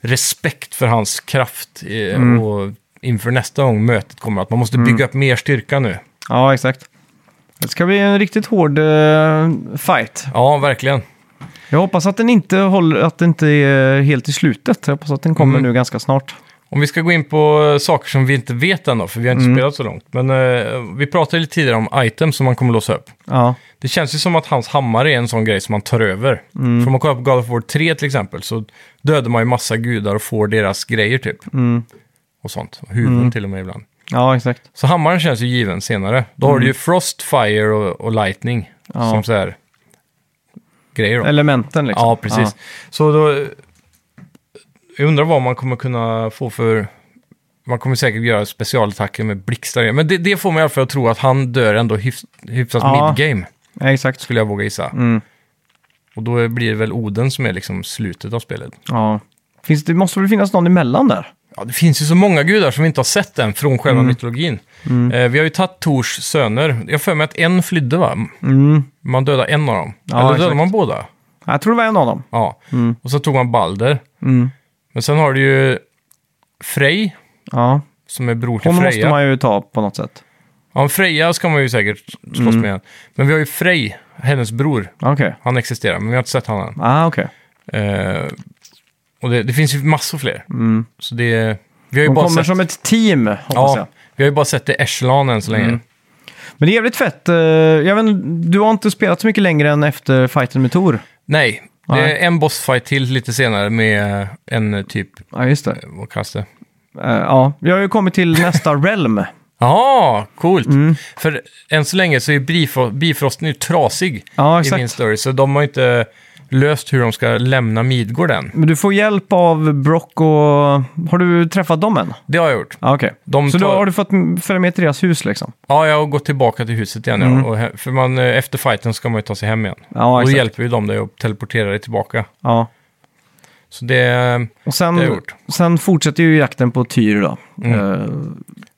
S1: respekt för hans kraft. eh, Och inför nästa gång mötet kommer att man måste bygga upp mer styrka nu.
S2: Ja, exakt. Det ska bli en riktigt hård eh, fight.
S1: Ja, verkligen.
S2: Jag hoppas att den inte, håller, att den inte är helt i slutet. Jag hoppas att den kommer
S1: Mm.
S2: nu ganska snart.
S1: Om vi ska gå in på eh, saker som vi inte vet än då, för vi har inte spelat så långt. Men eh, vi pratade lite tidigare om items som man kommer låsa upp.
S2: Ja,
S1: Det känns ju som att hans hammare är en sån grej som man tar över. För om man kollar på God of War 3 till exempel så dödar man ju massa gudar och får deras grejer typ. Och sånt. Huvuden till och med ibland.
S2: ja exakt.
S1: Så hammaren känns ju given senare. Då har du ju Frost, Fire och, och Lightning
S2: Mm. Ja.
S1: som så här grejer då.
S2: Elementen liksom.
S1: Ja, precis. Så då... Jag undrar vad man kommer kunna få för... Man kommer säkert göra specialattacker med blixtar. Men det, det får mig i alla fall att tro att han dör ändå hyfs, hyfsat
S2: Ja.
S1: midgame,
S2: Ja, exakt.
S1: skulle jag våga gissa.
S2: Mm.
S1: Och då blir det väl Oden som är liksom slutet av spelet.
S2: Ja. Finns, det måste väl finnas någon emellan där?
S1: Ja, det finns ju så många gudar som vi inte har sett än från
S2: Mm.
S1: själva mytologin. Eh, vi har ju tagit Tors söner. Jag har för mig att en flydde va?
S2: Mm.
S1: Man dödade en av dem.
S2: Ja,
S1: Eller dödade
S2: exakt. Mm.
S1: man båda?
S2: Jag tror det var en av dem.
S1: Ja. Och så tog man Balder.
S2: Mm.
S1: Men sen har du ju Frej,
S2: Ja,
S1: som är bror till
S2: hon måste
S1: Freja.
S2: man ju ta på något sätt.
S1: Ja, Freja ska man ju säkert slåss
S2: Mm.
S1: med igen. Men vi har ju Frej, hennes bror.
S2: Okej.
S1: Han existerar, men vi har inte sett honom än.
S2: Ah, okej.
S1: Eh, och det, det finns ju massor fler.
S2: Mm.
S1: Så det... Vi har ju
S2: De
S1: bara
S2: kommer
S1: sett...
S2: som ett team, hoppas jag. Mm.
S1: Ja, vi har ju bara sett det Echelon än så länge.
S2: Men det är jävligt fett. Eh, Jag vet, inte, du har inte spelat så mycket längre än efter fighten med Tor.
S1: Nej, det
S2: Nej.
S1: är en bossfight till lite senare med en typ,
S2: Ja, just det.
S1: vad kallas det?
S2: Eh, ja, jag har ju kommit till nästa realm.
S1: Ja, coolt!
S2: Mm.
S1: För än så länge så är bifro- bifrosten ju trasig
S2: Ja,
S1: i min
S2: exakt.
S1: story, så de har inte löst hur de ska lämna Midgård än.
S2: Men du får hjälp av Brock och... Har du träffat dem än?
S1: Det har jag gjort.
S2: Ja, okej.
S1: De
S2: Så då
S1: tar-
S2: har du fått följa med till deras hus liksom?
S1: Ja, jag har gått tillbaka till huset igen. Ja. Och he- för man, eh, efter fighten ska man ju ta sig hem igen.
S2: Mm. Ja,
S1: och då
S2: exakt.
S1: hjälper ju de dig att teleportera dig tillbaka.
S2: Ja.
S1: Så det...
S2: Och sen,
S1: Det har jag gjort. Mm.
S2: sen fortsätter ju jakten på Tyr då. Eh,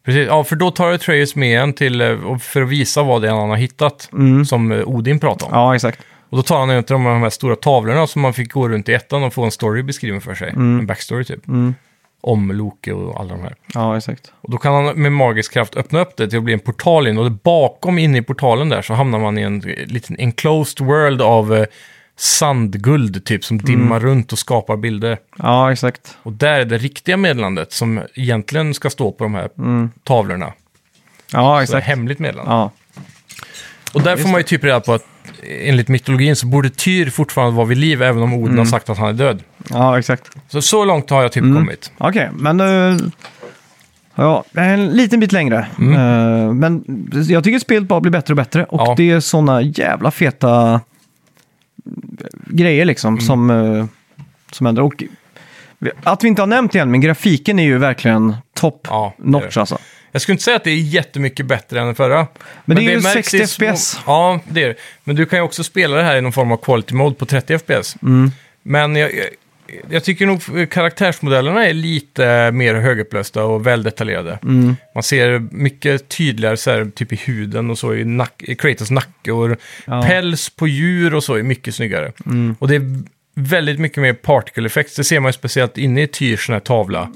S1: Precis, ja, för då tar jag Atreus med en till eh, och för att visa vad det är han har hittat,
S2: Mm.
S1: som eh, Odin pratade om.
S2: ja, exakt.
S1: Och då tar han en till de här stora tavlorna som man fick gå runt i ettan och få en story beskriven för sig. En backstory typ. Om Loke och alla de här.
S2: Ja, exakt.
S1: Och då kan han med magisk kraft öppna upp det till att bli en portal in. Och det bakom inne i portalen där så hamnar man i en eh, liten enclosed world av eh, sandguld typ som dimmar runt och skapar bilder.
S2: Ja, exakt.
S1: Och där är det riktiga meddelandet som egentligen ska stå på de här tavlorna.
S2: Ja,
S1: Så det är
S2: exakt.
S1: hemligt meddelande.
S2: Ja.
S1: Och där får man ju typ reda på att eh, enligt mytologin så borde Tyr fortfarande vara vid liv även om Oden har sagt att han är död.
S2: ja, exakt.
S1: Så, så långt har jag typ
S2: Mm.
S1: kommit.
S2: Okej, men... eh, ja, en liten bit längre. Eh, men jag tycker spelet bara blir bättre och bättre. Och
S1: Mm. Ja.
S2: det är såna jävla feta eh, grejer liksom
S1: Mm.
S2: som, eh, som händer. Och att vi inte har nämnt igen, men grafiken är ju verkligen topp
S1: Ja, det är
S2: notch
S1: det.
S2: alltså.
S1: Jag skulle inte säga att det är jättemycket bättre än den förra. Men,
S2: det är ju
S1: märks
S2: 60
S1: i små-
S2: FPS.
S1: Ja, det är det. Men du kan ju också spela det här i någon form av quality mode på 30 FPS.
S2: Mm.
S1: Men jag, jag, jag tycker nog karaktärsmodellerna är lite mer högupplösta och väldetaljerade.
S2: Mm.
S1: Man ser mycket tydligare så här, typ i huden och så i, nack, i Kratos nacke och päls på djur och så är mycket snyggare.
S2: Mm.
S1: Och det är väldigt mycket mer particle effects. Det ser man ju speciellt inne i Tyrs sån här tavla.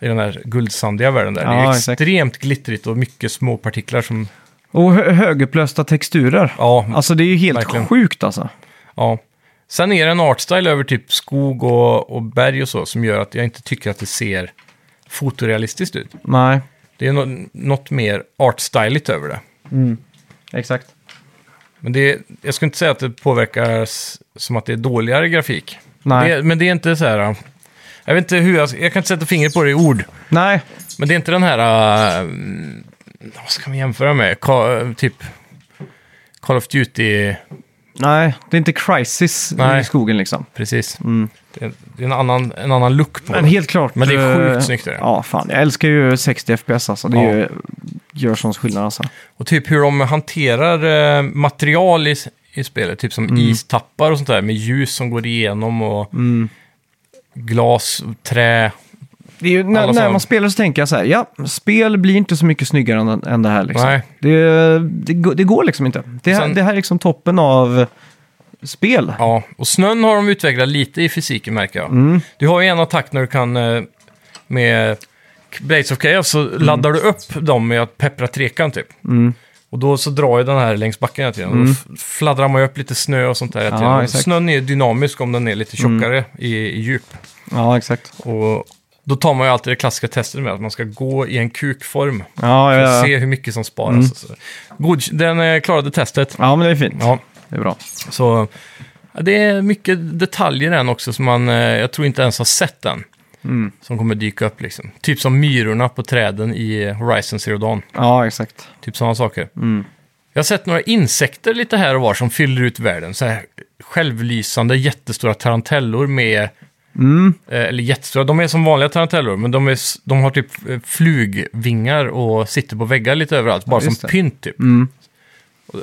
S1: I den här guldsandiga världen där. det är
S2: Mm. Ja, exakt.
S1: extremt glittrigt och mycket små partiklar som...
S2: Och hö högupplösta texturer.
S1: Ja,
S2: Alltså det är ju helt
S1: Verkligen.
S2: sjukt alltså.
S1: ja. Sen är det en artstyle över typ skog och, och berg och så som gör att jag inte tycker att det ser fotorealistiskt ut.
S2: Nej,
S1: Det är no- något mer artstyligt över det.
S2: exakt.
S1: Men det, jag skulle inte säga att det påverkar s- som att det är dåligare grafik.
S2: Nej.
S1: Det, men det är inte så här... äh, Jag vet inte hur jag... Jag kan inte sätta fingret på det i ord.
S2: Nej,
S1: Men det är inte den här... äh, mm, vad ska man jämföra med? Ka, typ... Call of Duty...
S2: nej, det är inte crisis
S1: Nej.
S2: i skogen liksom.
S1: Precis. Det är det är en annan, en annan look på
S2: Men
S1: det.
S2: helt klart.
S1: Men det är sjukt
S2: eh,
S1: snyggt, det är.
S2: Ja, fan. Jag älskar ju 60 FPS alltså. Det
S1: Ja.
S2: är ju, gör sån skillnad alltså.
S1: Och typ hur de hanterar eh, material i,
S2: Mm.
S1: s- i spelet. Typ som istappar och sånt där med ljus som går igenom och... glas, trä.
S2: Det är ju, när,
S1: Alla
S2: när
S1: som-
S2: man spelar så tänker jag så här, ja, spel blir inte så mycket snyggare än, än det här. Liksom.
S1: Nej.
S2: Det, det, går- det går liksom inte. Det, här-
S1: Sen-
S2: det här är liksom toppen av spel.
S1: Ja, och snön har de utvecklat lite i fysiken märker jag.
S2: Mm.
S1: Du har ju en attack när du kan eh, med Blades of Chaos så
S2: Mm.
S1: laddar du upp dem med att peppra trekan typ. Och då så drar ju den här längs backen hela tiden. Då f- fladdrar man ju upp lite snö och sånt där hela
S2: Mm. Ja,
S1: tiden. Och
S2: exakt. Mm.
S1: Snön är dynamisk om den är lite tjockare i, i djup.
S2: Ja, exakt.
S1: Och då tar man ju alltid det klassiska testet med att man ska gå i en kukform.
S2: Ja,
S1: För
S2: ja,
S1: att
S2: Mm. ja.
S1: se hur mycket som sparas. och Så. God, den eh, klarade testet.
S2: ja, men det är fint.
S1: Ja,
S2: Det är bra.
S1: så ja, det är mycket detaljer än också som man, eh, jag tror inte ens har sett än.
S2: Mm.
S1: Som kommer dyka upp liksom. Typ som myrorna på träden i eh, Horizon Zero Dawn.
S2: Ja, exakt.
S1: Typ sådana saker.
S2: Mm.
S1: Jag har sett några insekter lite här och var som fyller ut världen. Så här självlysande jättestora tarantellor med...
S2: Mm.
S1: eh, Eller jättestora, de är som vanliga tarantellor, men de, är, s- de har typ eh, flugvingar och sitter på väggar lite överallt, bara
S2: just
S1: som
S2: det. Mm.
S1: pynt typ. Och,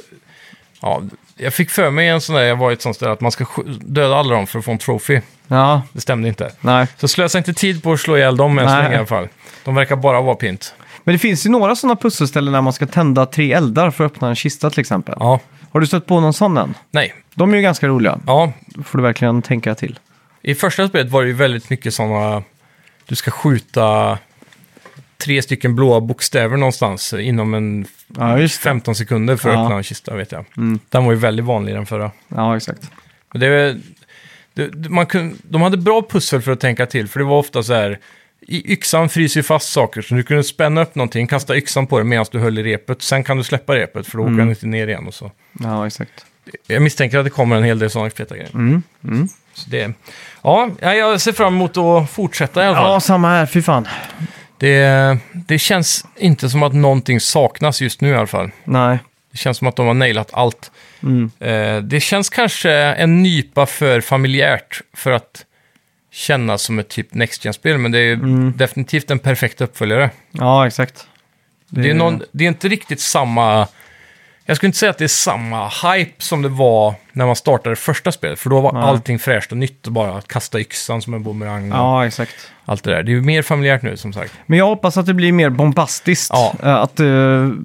S1: Ja, jag fick för mig en sån där, jag var i ett sånt ställe att man ska sk- döda alla dem för att få en trophy.
S2: Ja,
S1: Det stämde inte.
S2: nej.
S1: Så slösa inte tid på att slå ihjäl dem än så
S2: Nej.
S1: länge i alla fall. De verkar bara vara pynt.
S2: Men det finns ju några sådana pusselställen där man ska tända tre eldar för att öppna en kista till exempel.
S1: Ja,
S2: Har du stött på någon sån än?
S1: nej.
S2: De är ju ganska roliga.
S1: Ja,
S2: Då får du verkligen tänka till.
S1: I första spelet var det ju väldigt mycket sådana, du ska skjuta tre stycken blåa bokstäver någonstans inom en
S2: Ja, just det.
S1: 15 sekunder för att
S2: Ja. Mm.
S1: öppna en kista, vet jag. Den var ju väldigt vanlig i den förra.
S2: Ja, exakt.
S1: Men det, är- det, man kunde, de hade bra pussel för att tänka till, för det var ofta så här, i yxan fryser ju fast saker, så du kunde spänna upp någonting, kasta yxan på det medan du höll i repet, sen kan du släppa repet för då
S2: Mm.
S1: åker den inte ner igen och så.
S2: Ja, exakt.
S1: Jag misstänker att det kommer en hel del sådana feta grejer. Så det, ja, jag ser fram emot att fortsätta i alla fall.
S2: Ja, samma här. Fy fan.
S1: Det, det känns inte som att någonting saknas just nu i alla fall.
S2: Nej.
S1: Det känns som att de har nailat allt. Eh, det känns kanske en nypa för familjärt för att kännas som ett typ Next Gen-spel, men det är definitivt en perfekt uppföljare.
S2: Ja, exakt.
S1: Det är, någon, det är inte riktigt samma... Jag skulle inte säga att det är samma hype som det var när man startade första spelet, för då var
S2: Nej.
S1: allting fräscht och nytt och bara att kasta yxan som en bumerang och
S2: Ja, exakt.
S1: allt det där. Det är ju mer familjärt nu, som sagt.
S2: Men jag hoppas att det blir mer bombastiskt.
S1: Ja.
S2: Eh, Att, eh,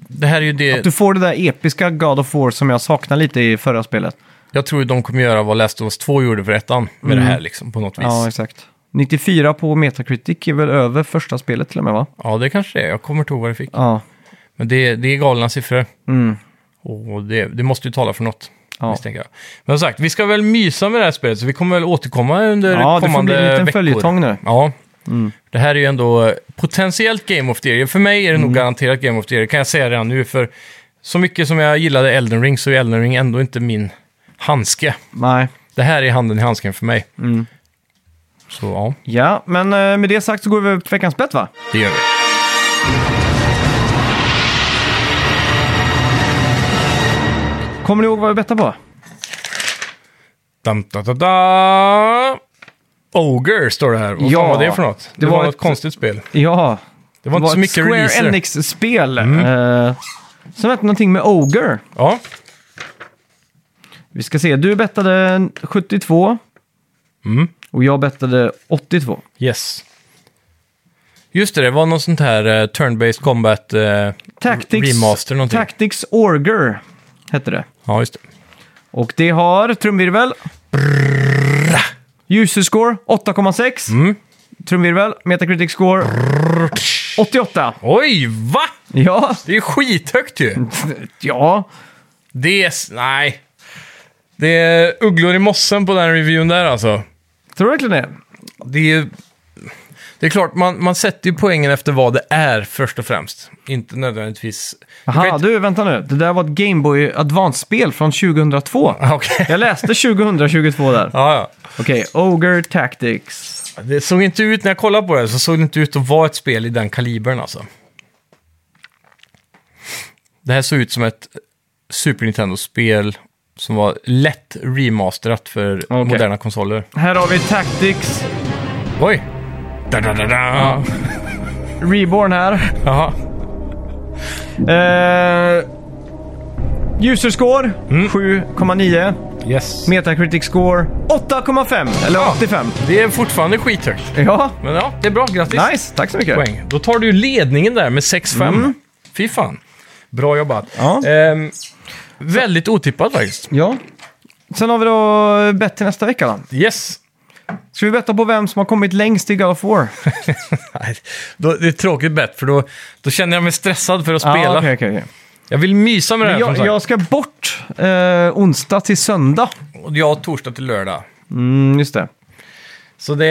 S1: Det här är ju det...
S2: att du får det där episka God of War som jag saknade lite i förra spelet.
S1: Jag tror de kommer göra vad Last of Us 2 gjorde för ettan med det här liksom på något vis.
S2: Mm. Ja,
S1: Ja,
S2: exakt. 94 på Metacritic är väl över första spelet till och med, va?
S1: det kanske det är. Jag kommer inte ihåg vad det fick.
S2: Ja.
S1: Men det, det är galna siffror.
S2: Mm.
S1: Och det, det måste ju tala för något.
S2: Ja.
S1: Misstänker jag. Men som sagt, vi ska väl mysa med det här spelet så vi kommer väl återkomma under
S2: Ja, det får
S1: kommande
S2: bli en liten
S1: veckor.
S2: följetong nu.
S1: Ja. Det här är ju ändå eh, potentiellt Game of the Year. För mig är det
S2: Mm.
S1: nog garanterat Game of the Year, kan jag säga redan nu. För så mycket som jag gillade Elden Ring så är Elden Ring ändå inte min handske.
S2: Nej.
S1: Det här är handen i handsken för mig.
S2: Mm.
S1: Så ja,
S2: Ja, men eh, med det sagt så går vi över till veckans bett, va?
S1: det gör vi.
S2: Kommer ni ihåg vad vi bettade på?
S1: Dam, da, da, da. Ogre står det här. Vad
S2: Ja.
S1: fan var det för något?
S2: Det
S1: Det, var,
S2: var
S1: något
S2: ett-
S1: konstigt spel.
S2: Ja.
S1: Det var inte så mycket
S2: ett Square
S1: releaser. Mm.
S2: Enix-spel. eh, som hette någonting med Ogre.
S1: Ja,
S2: Vi ska se, du bettade 72.
S1: Mm.
S2: Och jag bettade 82.
S1: yes. Just det, det var något sånt här eh, turn-based combat eh,
S2: Tactics,
S1: remaster någonting.
S2: Tactics Orger hette det.
S1: ja, just det.
S2: Och det har trumvirvel. User score 8,6.
S1: Mm.
S2: Trumvirvel. Metacritic score 88.
S1: Oj, va?
S2: Ja,
S1: Det är skithögt ju.
S2: ja.
S1: Det är... s- Nej. Det är ugglor i mossen på den reviewen där alltså.
S2: Tror du verkligen det?
S1: Det är ju... Det är klart, man, man sätter ju poängen efter vad det är först och främst. Inte nödvändigtvis... Du kan ju
S2: Aha,
S1: inte-
S2: du vänta nu. Det där var ett Game Boy Advance-spel från 2002.
S1: Ah, Okej.
S2: Jag läste 2022 där.
S1: Ja, ja.
S2: Okej, Ogre Tactics.
S1: Det såg inte ut, när jag kollade på det, så såg det inte ut att vara ett spel i den kalibern alltså. Det här såg ut som ett Super Nintendo-spel som var lätt remasterat för moderna konsoler.
S2: Här har vi Tactics
S1: Oj! Da, da, da, da.
S2: Reborn här.
S1: Jaha. Mm.
S2: Eh, user score 7,9.
S1: Yes.
S2: Metacritic score 8,5 eller
S1: Ja.
S2: 85.
S1: Det är fortfarande skithögt.
S2: Ja,
S1: Men ja, det är bra. Grattis.
S2: nice. Tack så mycket.
S1: Poäng. Då tar du ledningen där med 6-5. Fy fan. Bra jobbat.
S2: Mm. Ja.
S1: Ehm, väldigt otippat faktiskt.
S2: Ja. Sen har vi då bett till nästa vecka då.
S1: Yes.
S2: Ska vi betta på vem som har kommit längst i God of War?
S1: Nej, då, det är ett tråkigt bett för då, då känner jag mig stressad för att spela.
S2: Ah, okej, okej, okej.
S1: Jag vill mysa med det här
S2: jag,
S1: som sagt.
S2: jag ska bort eh, onsdag till söndag.
S1: Och jag har torsdag till lördag.
S2: Mm, just det.
S1: Så det,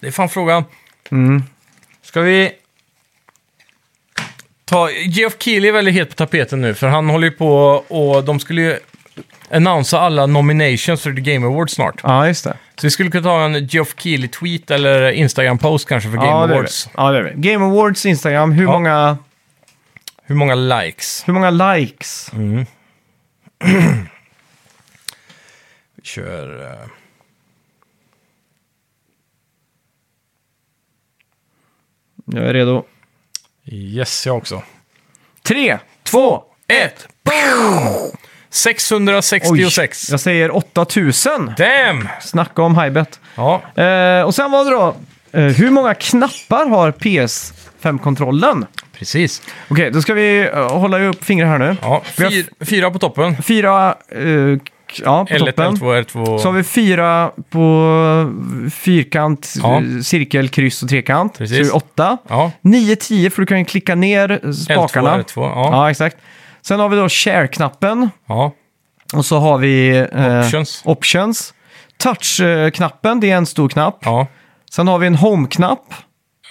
S1: det är fan frågan.
S2: Mm.
S1: Ska vi ta... Geoff Keighley är väldigt het på tapeten nu, för han håller ju på och de skulle ju annonsa alla nominations för The Game Awards snart.
S2: Ja, just det.
S1: Så vi skulle kunna ta en Geoff Keighley-tweet eller Instagram-post kanske för Game
S2: ja, det gör vi.
S1: Awards.
S2: Ja, det gör vi. Game Awards Instagram. Hur,
S1: Ja.
S2: många,
S1: Hur många likes?
S2: hur många likes?
S1: Vi kör... eh,
S2: Jag är redo.
S1: Yes, jag också.
S2: Tre, två,
S1: Ett! Boom! 666.
S2: Jag säger 8000.
S1: Damn!
S2: Snacka om hajbet.
S1: Ja,
S2: Eh, och sen var det då, eh, hur många knappar har PS5-kontrollen?
S1: precis.
S2: Okej, då ska vi eh, hålla upp fingrar här nu.
S1: Ja,
S2: Vi har
S1: fyra, fyra på toppen.
S2: Fyra, eh, k- ja, på
S1: L1,
S2: toppen.
S1: L2, R2.
S2: Så har vi fyra på fyrkant,
S1: Ja.
S2: eh, cirkel, kryss och trekant.
S1: Precis.
S2: Så är det åtta.
S1: Ja,
S2: Nio, tio, för du kan ju klicka ner spakarna.
S1: L2, R2. Ja.
S2: Ja, exakt. Sen har vi då share-knappen.
S1: ja.
S2: Och så har vi eh,
S1: Options.
S2: options. Touch-knappen, det är en stor knapp.
S1: Ja,
S2: Sen har vi en home-knapp.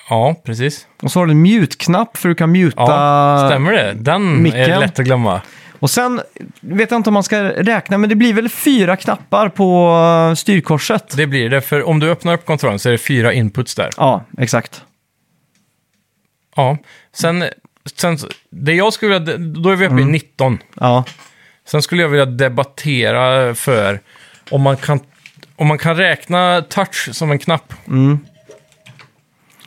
S1: ja precis.
S2: Och så har du en mute-knapp för du kan muta.
S1: Ja, stämmer det? Den är
S2: micken.
S1: lätt att glömma.
S2: Och sen vet jag inte om man ska räkna, men det blir väl fyra knappar på eh, styrkorset.
S1: Det blir det, för om du öppnar upp kontrollen så är det fyra inputs där.
S2: Ja, exakt.
S1: Ja. Sen, sen det jag skulle vilja, då är vi uppe
S2: Mm.
S1: i 19.
S2: Ja,
S1: Sen skulle jag vilja debattera för om man kan, om man kan räkna touch som en knapp.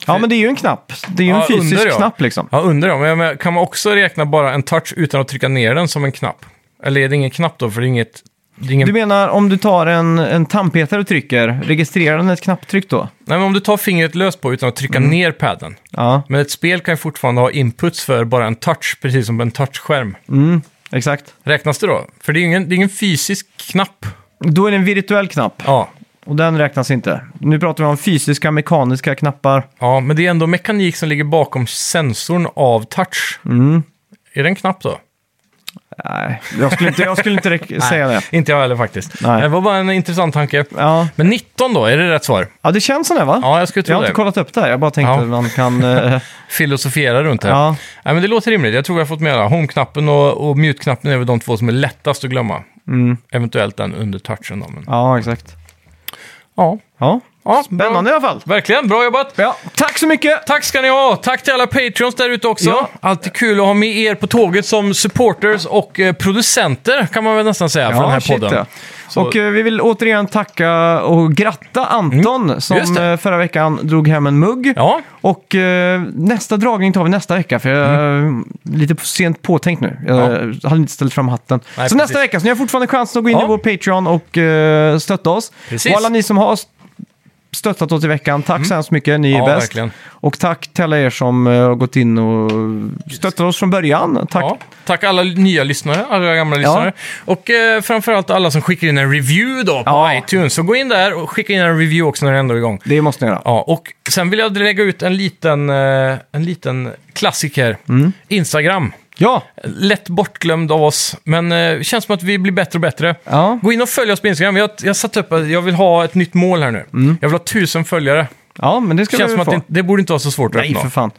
S2: ja men det är ju en knapp. Det är ju
S1: Ja,
S2: en fysisk
S1: under, ja.
S2: knapp liksom.
S1: Ja, undrar jag. Men jag menar, kan man också räkna bara en touch utan att trycka ner den som en knapp? Eller är det ingen knapp då, för det är inget... Det är ingen...
S2: Du menar om du tar en, en tandpetare och trycker, registrerar den ett knapptryck då?
S1: Nej, men om du tar fingret löst på utan att trycka
S2: Mm.
S1: ner padden.
S2: Ja,
S1: Men ett spel kan ju fortfarande ha inputs för bara en touch, precis som en touchskärm.
S2: exakt.
S1: Räknas det då? För det är ju ingen, det är ingen fysisk knapp.
S2: Då är det en virtuell knapp
S1: Ja.
S2: och den räknas inte. Nu pratar vi om fysiska, mekaniska knappar.
S1: ja, men det är ändå mekanik som ligger bakom sensorn av touch.
S2: Mm.
S1: Är det en knapp då?
S2: Nej, jag skulle inte, jag skulle inte rek- säga det.
S1: Inte jag heller faktiskt.
S2: Nej.
S1: Det var bara en intressant tanke.
S2: Ja.
S1: Men 19 då, är det rätt svar?
S2: ja, det känns som det va?
S1: Ja, jag skulle
S2: jag
S1: tro
S2: har
S1: det.
S2: inte kollat upp det här, jag bara tänkte
S1: Ja.
S2: att man kan... eh,
S1: Filosofera runt det.
S2: ja.
S1: Nej, men det låter rimligt. Jag tror jag har fått med alla. Home-knappen och, och mute-knappen är väl de två som är lättast att glömma.
S2: Mm.
S1: Eventuellt den under touchen då. Men...
S2: ja, exakt.
S1: Ja.
S2: Ja,
S1: ja,
S2: spännande i alla fall.
S1: Bra. Verkligen, bra jobbat!
S2: Ja, tack så mycket!
S1: Tack ska ni ha! Tack till alla Patreons där ute också.
S2: Ja.
S1: Alltid kul att ha med er på tåget som supporters och eh, producenter kan man väl nästan säga för den här
S2: shit,
S1: podden.
S2: ja. Och eh, vi vill återigen tacka och gratta Anton
S1: Mm. just
S2: som
S1: det.
S2: eh, förra veckan drog hem en mugg.
S1: Ja,
S2: Och eh, nästa dragning tar vi nästa vecka för jag är
S1: Mm.
S2: lite sent påtänkt nu. Jag hade inte ställt fram hatten.
S1: Nej,
S2: så
S1: precis.
S2: nästa vecka, så ni har fortfarande chansen att gå in
S1: Ja.
S2: i vår Patreon och eh, stötta oss.
S1: Precis. Mm.
S2: Och alla ni som har stöttat oss i veckan, tack så hemskt mycket, ni är
S1: Ja,
S2: bäst.
S1: verkligen.
S2: Och tack till alla er som eh, har gått in och stöttat oss från början. Tack.
S1: ja. Tack alla nya lyssnare, alla gamla lyssnare. Och eh, framförallt alla som skickar in en review då på
S2: Ja.
S1: iTunes. Så gå in där och skicka in en review också när det ändå är igång.
S2: Det måste ni göra.
S1: Ja, och sen vill jag lägga ut en liten, eh, en liten klassiker.
S2: Mm.
S1: Instagram.
S2: Ja,
S1: Lätt bortglömd av oss, men eh, känns som att vi blir bättre och bättre.
S2: ja.
S1: Gå in och följ oss på Instagram. Jag, jag satt upp att jag vill ha ett nytt mål här nu. Jag vill ha tusen följare.
S2: ja men det ska
S1: Det känns
S2: vi
S1: som att
S2: Mm. få.
S1: det, det borde inte vara så svårt att
S2: Nej,
S1: uppnå.
S2: för fan.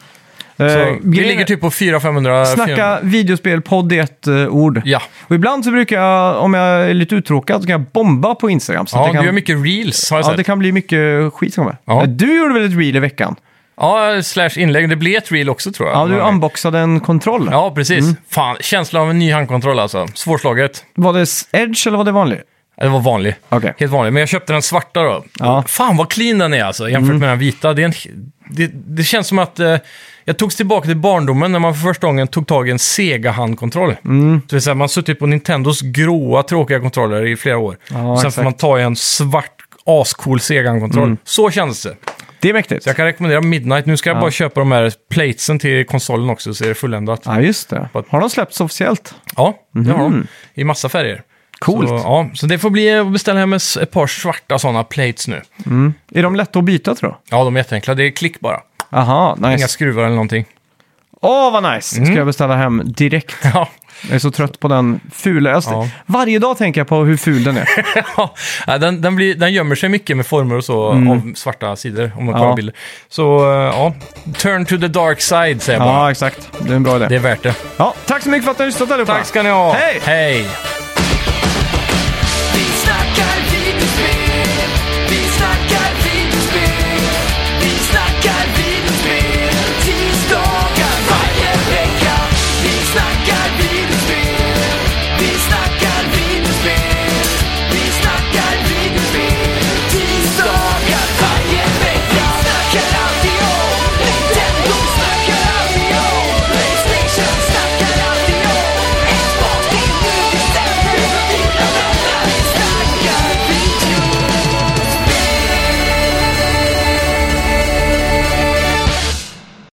S1: Så,
S2: Eh,
S1: vi
S2: grejen-
S1: ligger typ på 400-500.
S2: Snacka videospel, podd i ett eh, ord.
S1: Ja,
S2: Och ibland så brukar jag, om jag är lite uttråkad, så kan jag bomba på Instagram. Så att
S1: ja
S2: det kan,
S1: du gör mycket reels har jag
S2: ja,
S1: sett.
S2: det kan bli mycket skit som kommer.
S1: Ja.
S2: Eh, Du gjorde väl ett reel i veckan?
S1: Ja, slash inlägg. Det blir ett reel också tror jag.
S2: Ja, du Mm. unboxade en kontroll.
S1: Ja, precis. Fan, känslan av en ny handkontroll alltså. Svårslaget.
S2: Var det Edge eller var det vanlig?
S1: Ja, Det var vanlig.
S2: Okej.
S1: Helt vanlig. Men jag köpte den svarta då.
S2: Ja. Mm.
S1: Fan vad clean den är alltså jämfört med den vita. Det, är en, det, det känns som att eh, jag togs tillbaka till barndomen när man för första gången tog tag i en Sega-handkontroll.
S2: Mm.
S1: Det vill säga man har suttit på Nintendos gråa tråkiga kontroller i flera år.
S2: Ja,
S1: Sen
S2: exakt. Mm.
S1: får man ta i en svart ascool Sega-handkontroll. Så kändes det.
S2: Det är mäktigt.
S1: Jag kan rekommendera Midnight. Nu ska jag bara köpa de här platesen till konsolen också så är det fulländat.
S2: Ja, just det. Har de släppts officiellt?
S1: Ja, det har de. I massa färger.
S2: Coolt.
S1: Så, ja, så det får bli att beställa hem ett ett par svarta sådana plates nu.
S2: Är de lätta att byta tror
S1: Ja, de är jätteenkla. Det är klick bara.
S2: jag? Aha,
S1: Inga Mm.
S2: nice.
S1: skruvar eller någonting.
S2: Åh, vad nice! Ska jag beställa hem direkt.
S1: Ja,
S2: Jag är så trött på den fula. Jag-
S1: Ja.
S2: Varje dag tänker jag på hur ful den är.
S1: ja den, den, blir, den gömmer sig mycket med former och så av svarta sidor om man kollar
S2: Mm. Ja.
S1: bilder. Så eh, ja, turn to the dark side säger jag bara.
S2: ja, exakt. Det är en bra idé.
S1: Det är värt det.
S2: Ja, tack så mycket för att ni har lyssnat allihopa.
S1: Tack ska ni ha.
S2: Hej!
S1: Hej.